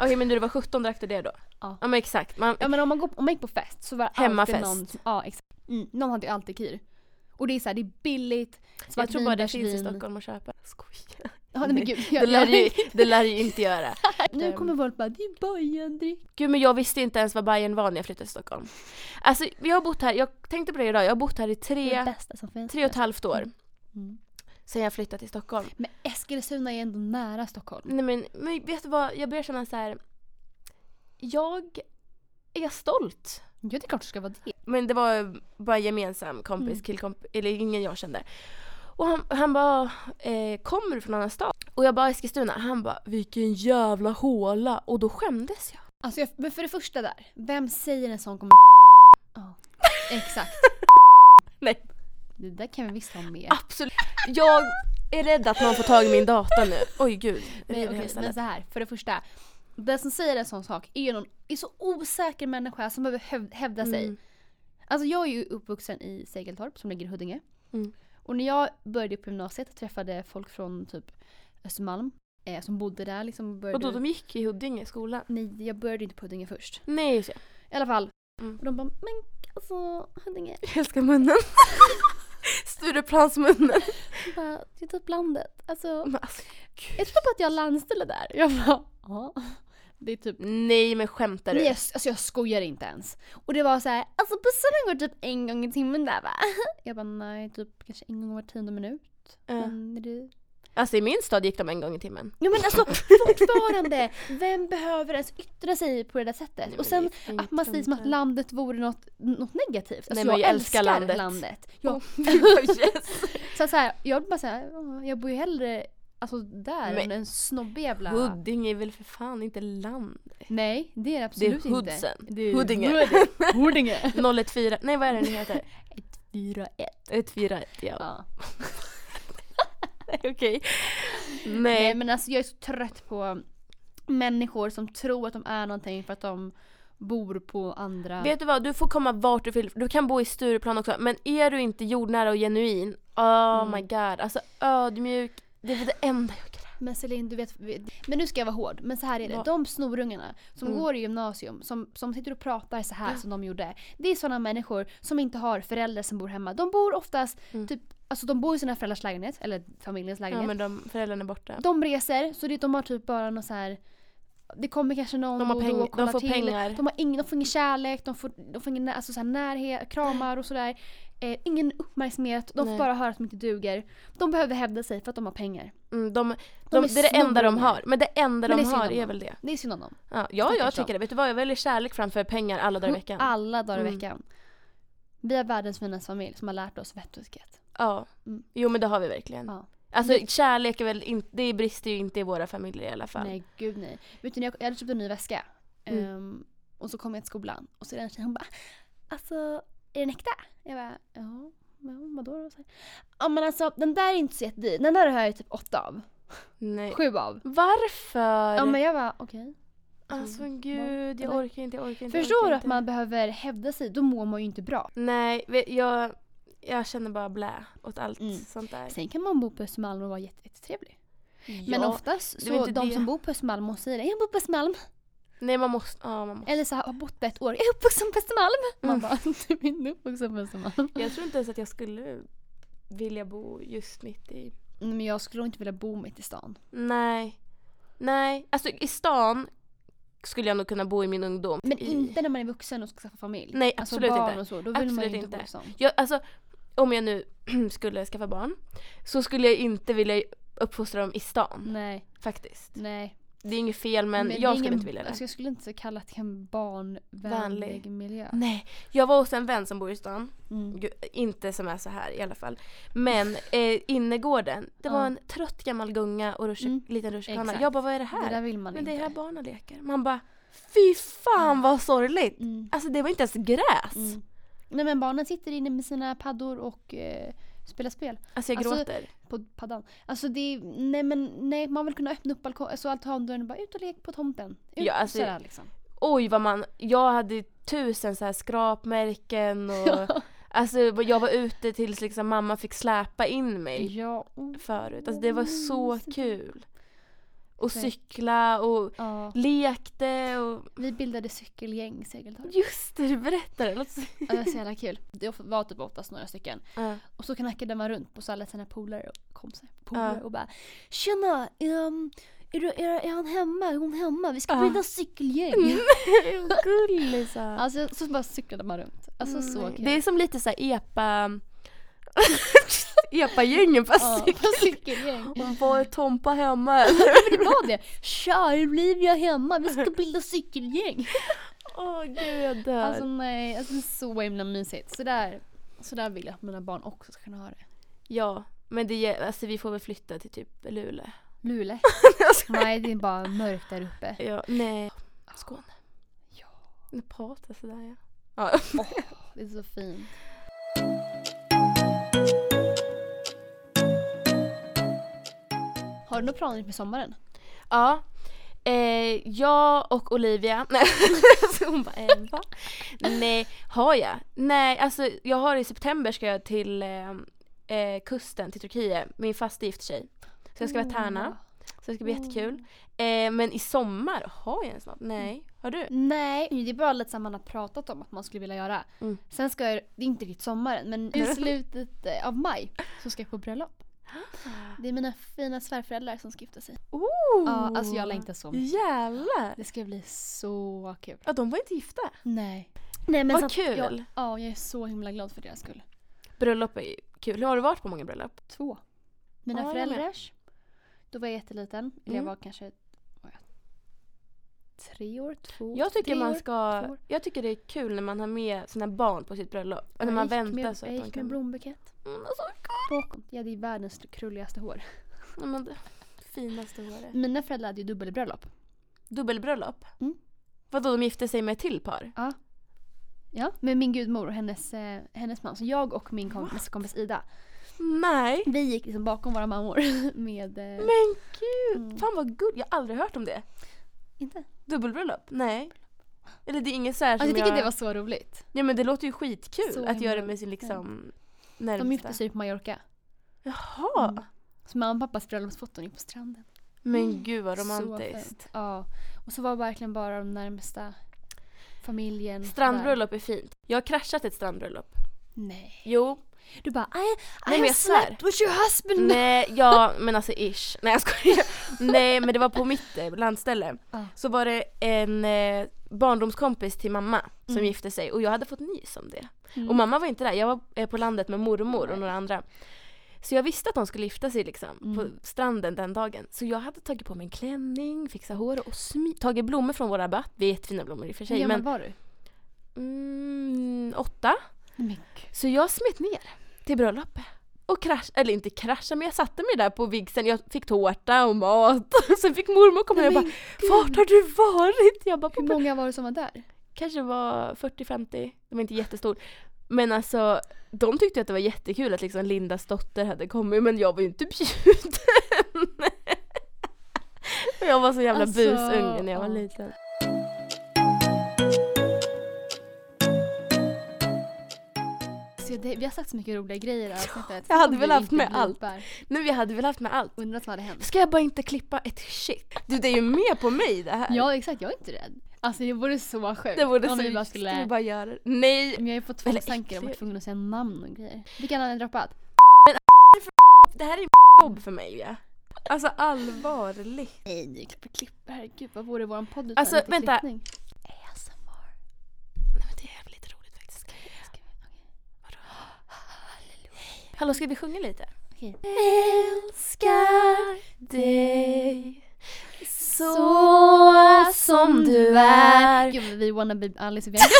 Speaker 1: Okej men när du var 17 drack du det då?
Speaker 2: Ja.
Speaker 1: men exakt. Man,
Speaker 2: Ja men om man, går, om man gick på fest så var det
Speaker 1: Hemmafest.
Speaker 2: alltid någon... som- Ja exakt. Mm, någon hade ju alltid kir. Och det är så här, det är billigt.
Speaker 1: jag tror
Speaker 2: vin,
Speaker 1: bara det
Speaker 2: bärsvin.
Speaker 1: finns i Stockholm att köpa. Skoja.
Speaker 2: Ja, nej, men gud, jag,
Speaker 1: Det lär,
Speaker 2: jag,
Speaker 1: ju, det lär ju inte göra.
Speaker 2: [laughs] nu kommer folk bara det är bajandrick.
Speaker 1: Gud men jag visste inte ens vad Bayern var när jag flyttade till Stockholm. Alltså jag har bott här, jag tänkte på det idag, jag har bott här i
Speaker 2: Det är det
Speaker 1: tre,
Speaker 2: bästa som finns.
Speaker 1: tre och ett halvt år.
Speaker 2: Mm.
Speaker 1: Sen jag flyttade till Stockholm.
Speaker 2: Men Eskilstuna är ändå nära Stockholm.
Speaker 1: Nej men, men vet du vad, jag börjar känna så här. Jag är stolt
Speaker 2: Ja det är klart det ska vara det.
Speaker 1: Men det var bara en gemensam kompis,
Speaker 2: Mm.
Speaker 1: killkompis, eller ingen jag kände. Och han, han bara, eh, kommer du från annan stad? Och jag bara Eskilstuna. Han bara, vilken jävla håla. Och då skämdes jag.
Speaker 2: Alltså jag, men för det första där, vem säger en sån kommentar? Ja, exakt.
Speaker 1: Nej.
Speaker 2: Det där kan vi visst ha med.
Speaker 1: Absolut. Jag är rädd att någon får tag i min data nu. Oj gud.
Speaker 2: Nej,
Speaker 1: river
Speaker 2: okej,
Speaker 1: hela
Speaker 2: men
Speaker 1: stället.
Speaker 2: så här, för det första. Den som säger en sån sak är ju någon är så osäker människa som behöver häv- hävda sig.
Speaker 1: Mm.
Speaker 2: Alltså jag är ju uppvuxen i Segeltorp som ligger i Huddinge.
Speaker 1: Mm.
Speaker 2: Och när jag började på gymnasiet träffade folk från typ Östermalm eh, som bodde där. Liksom började...
Speaker 1: Och då de gick i Huddinge skolan?
Speaker 2: Nej, jag började inte på Huddinge först.
Speaker 1: Nej just det.
Speaker 2: I alla fall.
Speaker 1: Mm.
Speaker 2: Och de bara, men alltså Huddinge,
Speaker 1: Jag älskar [laughs] munnen. Stureplansmunnen.
Speaker 2: jag bara, det är typ landet. Alltså,
Speaker 1: Men alltså,
Speaker 2: jag tror bara att jag har landställe där. Jag bara, ja. Det är typ
Speaker 1: nej men skämtar du?
Speaker 2: Nej, jag, alltså jag skojar inte ens. Och det var så här, alltså bussarna går typ en gång i timmen där va? Jag bara nej, typ kanske en gång var tionde minut.
Speaker 1: Ja.
Speaker 2: Men är det...
Speaker 1: Alltså i min stad gick de en gång i timmen.
Speaker 2: Ja men
Speaker 1: [laughs]
Speaker 2: alltså fortfarande, vem behöver ens yttra sig på det där sättet?
Speaker 1: Nej,
Speaker 2: och
Speaker 1: men
Speaker 2: sen
Speaker 1: det är
Speaker 2: att man säger som att
Speaker 1: fint.
Speaker 2: landet vore något, något negativt. Alltså,
Speaker 1: Nej, men jag älskar landet.
Speaker 2: Jag,
Speaker 1: [laughs] yes.
Speaker 2: så, så här, jag bara säga, jag bor ju hellre alltså, där
Speaker 1: Men-
Speaker 2: än en snobbig jävla...
Speaker 1: Huddinge är väl för fan inte land?
Speaker 2: Nej, det är det
Speaker 1: Det är
Speaker 2: absolut inte.
Speaker 1: Hoodsen.
Speaker 2: Det är
Speaker 1: Huddinge. [laughs]
Speaker 2: Huddinge.
Speaker 1: 014, nej vad är det ni heter?
Speaker 2: 4-1.
Speaker 1: 141 [laughs] ja.
Speaker 2: Ja.
Speaker 1: Okej.
Speaker 2: Nej
Speaker 1: Nej.
Speaker 2: men alltså jag är så trött på människor som tror att de är någonting för att de bor på andra...
Speaker 1: Vet du vad, du får komma vart du vill. Du kan bo i Stureplan också men är du inte jordnära och genuin, oh
Speaker 2: Mm.
Speaker 1: my god. Alltså ödmjuk, det är det enda jag kräver.
Speaker 2: Men Celine du vet, vi- men nu ska jag vara hård. Men så här är det,
Speaker 1: Ja.
Speaker 2: de snorungarna som
Speaker 1: Mm.
Speaker 2: går i gymnasium, som, som sitter och pratar så här som de gjorde. Det är sådana människor som inte har föräldrar som bor hemma. De bor oftast,
Speaker 1: Mm.
Speaker 2: typ, alltså de bor i sina föräldrars lägenhet, eller familjens lägenhet.
Speaker 1: Ja men de, föräldrarna är borta.
Speaker 2: De reser, så det, de har typ bara någon så här. Det kommer kanske någon
Speaker 1: De har
Speaker 2: och då
Speaker 1: peng-
Speaker 2: och
Speaker 1: de
Speaker 2: kollar
Speaker 1: får
Speaker 2: till.
Speaker 1: pengar.
Speaker 2: De, har ingen, de får ingen kärlek, de får, de får ingen när- alltså så här närhet, kramar och sådär. Eh, ingen uppmärksamhet, de
Speaker 1: Nej.
Speaker 2: får bara höra att de inte duger. De behöver hävda sig för att de har pengar.
Speaker 1: Mm, de,
Speaker 2: De
Speaker 1: de,
Speaker 2: är
Speaker 1: det är det enda de
Speaker 2: snorungar.
Speaker 1: har. Men det enda
Speaker 2: Men det
Speaker 1: de
Speaker 2: är synd
Speaker 1: har
Speaker 2: om
Speaker 1: är
Speaker 2: dem.
Speaker 1: väl det.
Speaker 2: Det är synd om dem.
Speaker 1: Ja, ja
Speaker 2: Stackars
Speaker 1: jag tycker det. Vet du vad, jag väljer kärlek framför pengar alla dagar i veckan.
Speaker 2: Alla dagar i
Speaker 1: Mm.
Speaker 2: veckan. Vi är världens finaste familj som har lärt oss vett och etikett.
Speaker 1: Ja.
Speaker 2: Mm.
Speaker 1: Jo men det har vi verkligen.
Speaker 2: Ja.
Speaker 1: Alltså kärlek är väl inte, det brister ju inte i våra familjer i alla fall.
Speaker 2: Nej gud nej. Vet du, när jag, jag hade köpt en ny väska.
Speaker 1: Mm.
Speaker 2: Ehm, och så kom jag till skolan och så är det en tjej hon bara Alltså är den äkta? Jag bara ja. Men vadå då? Så här, Ja men alltså den där är inte så jättedyr. Den där har jag typ åtta av.
Speaker 1: Nej.
Speaker 2: Sju av.
Speaker 1: Varför?
Speaker 2: Ja men jag bara okej.
Speaker 1: Alltså gud, jag
Speaker 2: Eller?
Speaker 1: orkar inte, jag orkar inte. jag
Speaker 2: Förstår
Speaker 1: orkar
Speaker 2: du att
Speaker 1: inte.
Speaker 2: man behöver hävda sig? Då mår man ju inte bra.
Speaker 1: Nej, vet- jag, jag känner bara blä åt allt
Speaker 2: Mm.
Speaker 1: sånt där.
Speaker 2: Sen kan man bo på Östermalm och vara jätte- jättetrevlig. Men
Speaker 1: Ja.
Speaker 2: oftast
Speaker 1: det är
Speaker 2: så
Speaker 1: inte
Speaker 2: de
Speaker 1: det.
Speaker 2: som bor på Östermalm och säger jag bor på Östermalm.
Speaker 1: Nej man måste, ja man måste.
Speaker 2: Eller så här, har bott där ett år. Jag är uppvuxen på Östermalm. Man
Speaker 1: Mm.
Speaker 2: bara [laughs] du är inte uppvuxen på Östermalm.
Speaker 1: Jag tror inte ens att jag skulle vilja bo just mitt i.
Speaker 2: Nej, Men jag skulle nog inte vilja bo mitt i stan.
Speaker 1: Nej. Nej, alltså i stan skulle jag nog kunna bo i min ungdom.
Speaker 2: Men
Speaker 1: Typ I-
Speaker 2: inte när man är vuxen och ska skaffa familj.
Speaker 1: Nej,
Speaker 2: alltså
Speaker 1: absolut
Speaker 2: barn
Speaker 1: inte.
Speaker 2: och så, då vill man
Speaker 1: Absolut
Speaker 2: ju inte bo
Speaker 1: inte.
Speaker 2: sånt.
Speaker 1: Jag, alltså, om jag nu [clears throat] skulle skaffa barn så skulle jag inte vilja uppfostra dem i stan
Speaker 2: Nej,
Speaker 1: faktiskt.
Speaker 2: nej.
Speaker 1: Det är inget fel men,
Speaker 2: det är
Speaker 1: jag skulle
Speaker 2: ingen-
Speaker 1: inte vilja det.
Speaker 2: Alltså jag skulle inte kalla det en barnvänlig
Speaker 1: Vänlig. Mm.
Speaker 2: miljö.
Speaker 1: Nej, jag var hos en vän som bor i stan.
Speaker 2: Mm.
Speaker 1: Gud, inte som är så här i alla fall. Men eh, innergården, det var
Speaker 2: Ja.
Speaker 1: en trött gammal gunga och rusch,
Speaker 2: Mm,
Speaker 1: liten rutschkana.
Speaker 2: exakt.
Speaker 1: Jag bara, vad är det
Speaker 2: Det
Speaker 1: här?
Speaker 2: där vill man
Speaker 1: men det
Speaker 2: inte.
Speaker 1: är här barnen leker. Man bara, fy fan vad sorgligt.
Speaker 2: mm.
Speaker 1: Alltså det var inte ens gräs.
Speaker 2: Mm. Nej men barnen sitter inne med sina paddor och eh, spelar spel.
Speaker 1: Alltså jag
Speaker 2: Alltså,
Speaker 1: gråter.
Speaker 2: På paddan. Alltså det är, nej men nej man vill kunna öppna upp balkongen, alltså altandörren och bara ut och lek på tomten. Ut
Speaker 1: Ja, alltså-
Speaker 2: sådär liksom.
Speaker 1: Oj vad man, jag hade tusen så här skrapmärken
Speaker 2: [laughs]
Speaker 1: och alltså jag var ute tills liksom mamma fick släpa in mig
Speaker 2: ja. oh,
Speaker 1: förut. Alltså det var så
Speaker 2: Mysigt.
Speaker 1: kul. Och
Speaker 2: Verkligen.
Speaker 1: cykla och
Speaker 2: ja.
Speaker 1: lekte och
Speaker 2: Vi bildade cykelgäng i Segeltorp.
Speaker 1: Just det, du berättade. Låt oss-
Speaker 2: Ja, det var så jävla kul. Det var typ oftast några stycken.
Speaker 1: Ja.
Speaker 2: Och så knackade man runt på så alla sina polare och kompisar. Polare och bara “Tjena! ehm, är, du, är, är han hemma? Är hon hemma? Vi ska
Speaker 1: Ja. Mm.
Speaker 2: bilda cykelgäng!”
Speaker 1: Vad gullig så. här.
Speaker 2: [laughs] Alltså så bara cyklade man runt. Alltså så
Speaker 1: Mm.
Speaker 2: kul.
Speaker 1: Det är som lite så här epa... [laughs] Epa-gängen på
Speaker 2: Ja,
Speaker 1: cykel.
Speaker 2: på cykelgäng.
Speaker 1: Och var är Tompa hemma?
Speaker 2: Det var det. “Tja! Är Olivia hemma?
Speaker 1: [laughs]
Speaker 2: Vi ska bilda cykelgäng!”
Speaker 1: Åh gud jag dör.
Speaker 2: Alltså nej, alltså, det är så himla mysigt. Så där, så där vill jag att mina barn också ska kunna ha det.
Speaker 1: ja, men det, är- alltså, vi får väl flytta till typ Luleå. [laughs]
Speaker 2: Luleå.
Speaker 1: Jag skojar.
Speaker 2: Nej, det är bara mörkt där uppe. Ah,
Speaker 1: ja, nej. Skåne.
Speaker 2: Ja.
Speaker 1: Nepata sådär ja. ja.
Speaker 2: Det är så fint. Har du några planer inför sommaren?
Speaker 1: Ja. Eh, jag och Olivia, [laughs] nej så hon bara eh, va? Nej, har jag? Nej, alltså jag har i september ska jag till eh, eh, kusten, till Turkiet. Min fasta gifter sig. Så jag ska vara
Speaker 2: Mm.
Speaker 1: tärna, så det ska bli jättekul. Eh, men i sommar, har jag ens något? Nej, har du?
Speaker 2: Nej, det är bara lite som man har pratat om att man skulle vilja göra.
Speaker 1: Mm.
Speaker 2: Sen ska jag, det är inte riktigt sommaren,
Speaker 1: [laughs]
Speaker 2: men i slutet eh, av maj så ska jag
Speaker 1: [gasps]
Speaker 2: på bröllop. Det är mina fina svärföräldrar som ska gifta sig.
Speaker 1: Oh!
Speaker 2: Ja, alltså jag längtar så mycket.
Speaker 1: Jävlar!
Speaker 2: Det ska bli så kul.
Speaker 1: Ja, de var inte gifta.
Speaker 2: Nej. Nej men
Speaker 1: Vad
Speaker 2: så att
Speaker 1: kul.
Speaker 2: Jag, ja, jag är så himla glad för deras skull.
Speaker 1: Bröllop är ju kul. Har du varit på många bröllop?
Speaker 2: Två. Mina
Speaker 1: Ja, jag med.
Speaker 2: föräldrars. Då var jag jätteliten. Eller Jag
Speaker 1: Mm.
Speaker 2: var kanske var jag, tre år, två
Speaker 1: Jag tycker
Speaker 2: tre
Speaker 1: man
Speaker 2: år,
Speaker 1: ska,
Speaker 2: två år.
Speaker 1: jag tycker det är kul när man har med sina barn på sitt bröllop. Och när
Speaker 2: Jag
Speaker 1: man
Speaker 2: gick
Speaker 1: väntar
Speaker 2: med,
Speaker 1: så
Speaker 2: Jag
Speaker 1: att de
Speaker 2: gick
Speaker 1: kan...
Speaker 2: med blombukett.
Speaker 1: Mm, alltså,
Speaker 2: Bakom. Jag hade ju världens krulligaste hår.
Speaker 1: Ja, men det finaste håret.
Speaker 2: Mina föräldrar hade ju dubbelbröllop.
Speaker 1: Dubbelbröllop?
Speaker 2: Mm.
Speaker 1: Vadå, de gifte sig med ett till par?
Speaker 2: Ja. Med min gudmor och hennes, eh, hennes man. Så jag och min kom- bästa kompis Ida. Mm.
Speaker 1: Nej.
Speaker 2: Vi gick liksom bakom våra mammor. [laughs] med... Eh,
Speaker 1: Men gud,
Speaker 2: Mm.
Speaker 1: fan vad gulligt. Jag har aldrig hört om det.
Speaker 2: Inte?
Speaker 1: Dubbelbröllop? Nej. Eller det är inget så här som
Speaker 2: Alltså, jag tycker
Speaker 1: jag...
Speaker 2: det var så roligt.
Speaker 1: Ja men det låter ju skitkul
Speaker 2: Så
Speaker 1: att göra det
Speaker 2: himla-
Speaker 1: med sin liksom närmsta.
Speaker 2: De gifte sig på Mallorca.
Speaker 1: Jaha.
Speaker 2: Mm. Så mamma och pappas bröllopsfoton är på stranden.
Speaker 1: Men gud vad
Speaker 2: Så
Speaker 1: romantiskt.
Speaker 2: fint. Ja. Och så var verkligen bara de närmsta familjen.
Speaker 1: Strandbröllop är fint. Jag har kraschat ett strandbröllop.
Speaker 2: där. Nej.
Speaker 1: Jo.
Speaker 2: Du bara I, I
Speaker 1: men
Speaker 2: have
Speaker 1: jag svär.
Speaker 2: slept with your husband.
Speaker 1: Nej, ja men alltså ish. Nej jag skojar. Nej men det var på mitt eh, landställe.
Speaker 2: Ja.
Speaker 1: Så var det en eh, barndomskompis till mamma som
Speaker 2: Mm.
Speaker 1: gifte sig och jag hade fått nys om det.
Speaker 2: Mm.
Speaker 1: Och mamma var inte där, jag var eh, på landet med mormor och några andra. Så jag visste att de skulle gifta sig liksom
Speaker 2: Mm.
Speaker 1: på stranden den dagen. Så jag hade tagit på mig en klänning, fixat hår och smi- tagit blommor från vår rabatt. Det är jättefina blommor i och för
Speaker 2: Hur
Speaker 1: sig
Speaker 2: gammal
Speaker 1: men
Speaker 2: var du?
Speaker 1: mm, åtta.
Speaker 2: Men gud.
Speaker 1: Så jag smet ner till bröllopet. Och krasch, eller inte krascha men jag satte mig där på vigseln. Jag fick tårta och mat. [laughs] Sen fick mormor komma
Speaker 2: Nej,
Speaker 1: och jag
Speaker 2: men
Speaker 1: bara Vart har du varit? Jag bara på
Speaker 2: Hur många var det som var där?
Speaker 1: kanske var 40-50, de var inte jättestor. Men alltså, de tyckte att det var jättekul att liksom Lindas dotter hade kommit men jag var ju inte bjuden. [laughs] Och jag var så jävla
Speaker 2: Alltså,
Speaker 1: busunge när jag var
Speaker 2: ja.
Speaker 1: liten.
Speaker 2: Så Alltså, det, vi har sagt så mycket roliga grejer i det här avsnittet.
Speaker 1: jag hade
Speaker 2: Om
Speaker 1: väl
Speaker 2: vi
Speaker 1: haft
Speaker 2: inte
Speaker 1: med
Speaker 2: blipar.
Speaker 1: allt. Nu jag hade väl haft med allt.
Speaker 2: Undrar vad som hade hänt.
Speaker 1: Ska jag bara inte klippa ett shit? Du det är ju med på mig det här.
Speaker 2: Ja exakt, jag är inte rädd. Alltså det vore så sjukt
Speaker 1: det vore
Speaker 2: om
Speaker 1: så
Speaker 2: vi
Speaker 1: skulle... Ska
Speaker 2: bara skulle...
Speaker 1: vi bara göra det? Nej!
Speaker 2: Men jag har ju fått
Speaker 1: Eller
Speaker 2: tvångstankar om att
Speaker 1: äckligt.
Speaker 2: tvungen att säga namn och grejer. Vilka namn har ni droppat?
Speaker 1: Det här är [laughs] jobb för mig ja.
Speaker 3: Alltså allvarligt.
Speaker 2: Nej, nu klipper klipper. Herregud, vad vore våran podd utan
Speaker 1: Alltså,
Speaker 2: lite
Speaker 1: vänta.
Speaker 2: klippning? ASMR.
Speaker 1: Nej, men det är jävligt roligt faktiskt. Hallå ska vi sjunga lite?
Speaker 2: Okej.
Speaker 1: Älskar dig så som du är
Speaker 2: Gud, men vi wanna be Alice i Bianca.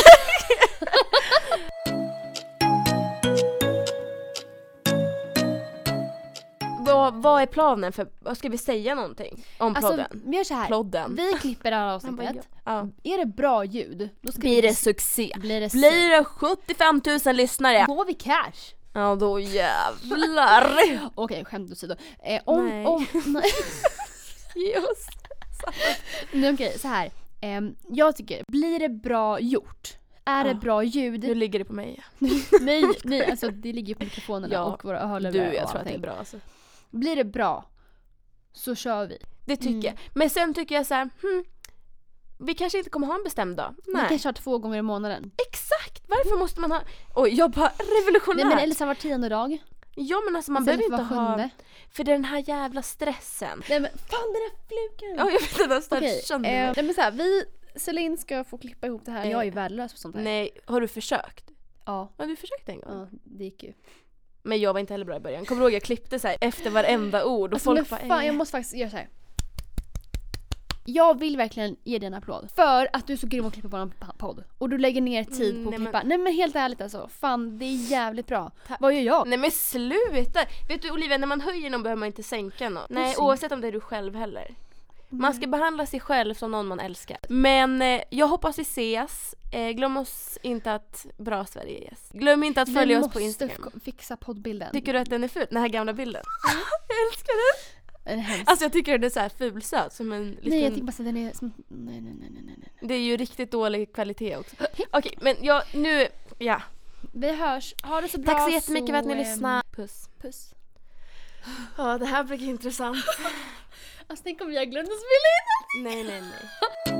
Speaker 1: Vad, vad är planen för, vad ska vi säga någonting om
Speaker 2: Alltså,
Speaker 1: podden?
Speaker 2: vi gör så här.
Speaker 1: Plodden.
Speaker 2: Vi klipper det här
Speaker 1: Man bara,
Speaker 2: avsnittet.
Speaker 1: ja.
Speaker 2: Är det bra ljud, då ska
Speaker 1: Blir det succé?
Speaker 2: Blir det
Speaker 1: Blir det 75 000 lyssnare?
Speaker 2: Går vi cash?
Speaker 1: Ja då jävlar!
Speaker 2: Okej, skämt åsido. Eh, om,
Speaker 1: Nej.
Speaker 2: om, nej. [laughs]
Speaker 1: Just.
Speaker 2: Nej, okej, så här. Ehm, jag tycker, blir det bra gjort? Är det
Speaker 1: Ja.
Speaker 2: bra ljud?
Speaker 1: [laughs] Nu ligger det på mig.
Speaker 2: nej, nej, alltså det ligger ju på mikrofonerna
Speaker 1: Ja.
Speaker 2: och våra hörlurar
Speaker 1: Du,
Speaker 2: och
Speaker 1: jag tror att det är
Speaker 2: allting.
Speaker 1: bra alltså.
Speaker 2: Blir det bra, så kör vi.
Speaker 1: Det tycker
Speaker 2: Mm.
Speaker 1: jag. Men sen tycker jag så här, hmm, vi kanske inte kommer ha en bestämd dag.
Speaker 2: Vi
Speaker 1: Nej.
Speaker 2: kanske har två gånger i månaden.
Speaker 1: Exakt! Varför måste man ha... Oj, jag bara [laughs] revolutionär!
Speaker 2: Nej men eller så var tionde dag.
Speaker 1: Ja men alltså man
Speaker 2: istället
Speaker 1: behöver inte
Speaker 2: för var
Speaker 1: ha...
Speaker 2: sjunde.
Speaker 1: För den här jävla stressen.
Speaker 2: Nej men fan den där flugan!
Speaker 1: Ja jag vet den har stört
Speaker 2: Okej,
Speaker 1: sönder
Speaker 2: eh,
Speaker 1: mig.
Speaker 2: nej men såhär vi, Celine ska få klippa ihop det här.
Speaker 1: Eh,
Speaker 2: Jag är värdelös på sånt här.
Speaker 1: Nej, har du försökt?
Speaker 2: Ja,
Speaker 1: Ja du försökte en gång.
Speaker 2: ja, det gick ju.
Speaker 1: Men jag var inte heller bra i början. Kommer du ihåg jag klippte så här efter varenda ord och
Speaker 2: Alltså, men
Speaker 1: folk bara "Äh." eh.
Speaker 2: fan, jag måste faktiskt göra så här. Jag vill verkligen ge dig en applåd för att du är så grym och klipper våran pa- podd. Och du lägger ner tid
Speaker 1: Mm,
Speaker 2: på att
Speaker 1: nej, men-
Speaker 2: klippa. Nej men helt ärligt alltså, fan det är jävligt bra.
Speaker 1: Tack.
Speaker 2: Vad gör jag?
Speaker 1: Nej men sluta! Vet du Olivia, när man höjer någon behöver man inte sänka någon. Nej,
Speaker 2: sänk-
Speaker 1: oavsett om det är du själv heller. Man ska behandla sig själv som någon man älskar. Men eh, jag hoppas vi ses. Eh, glöm oss inte att Bra Sverige yes. Glöm inte att
Speaker 2: Vi
Speaker 1: följa oss på
Speaker 2: måste
Speaker 1: Instagram.
Speaker 2: f- fixa poddbilden.
Speaker 1: Tycker du att den är ful? Den här gamla bilden? [laughs] jag älskar den!
Speaker 2: Den är hemsk.
Speaker 1: Alltså jag tycker den är så här fulsöt som en liten...
Speaker 2: Nej jag tycker bara så att den är som... Nej nej nej nej nej. nej.
Speaker 1: Det är ju riktigt dålig kvalitet också. Okej men jag, nu, ja.
Speaker 2: Vi hörs, ha det så bra.
Speaker 1: Tack så jättemycket för att ni
Speaker 2: ehm,
Speaker 1: lyssnade. Puss.
Speaker 2: Puss.
Speaker 1: Ja det här blir intressant.
Speaker 2: Alltså tänk om jag glömde spela in
Speaker 1: nej nej nej.
Speaker 2: den.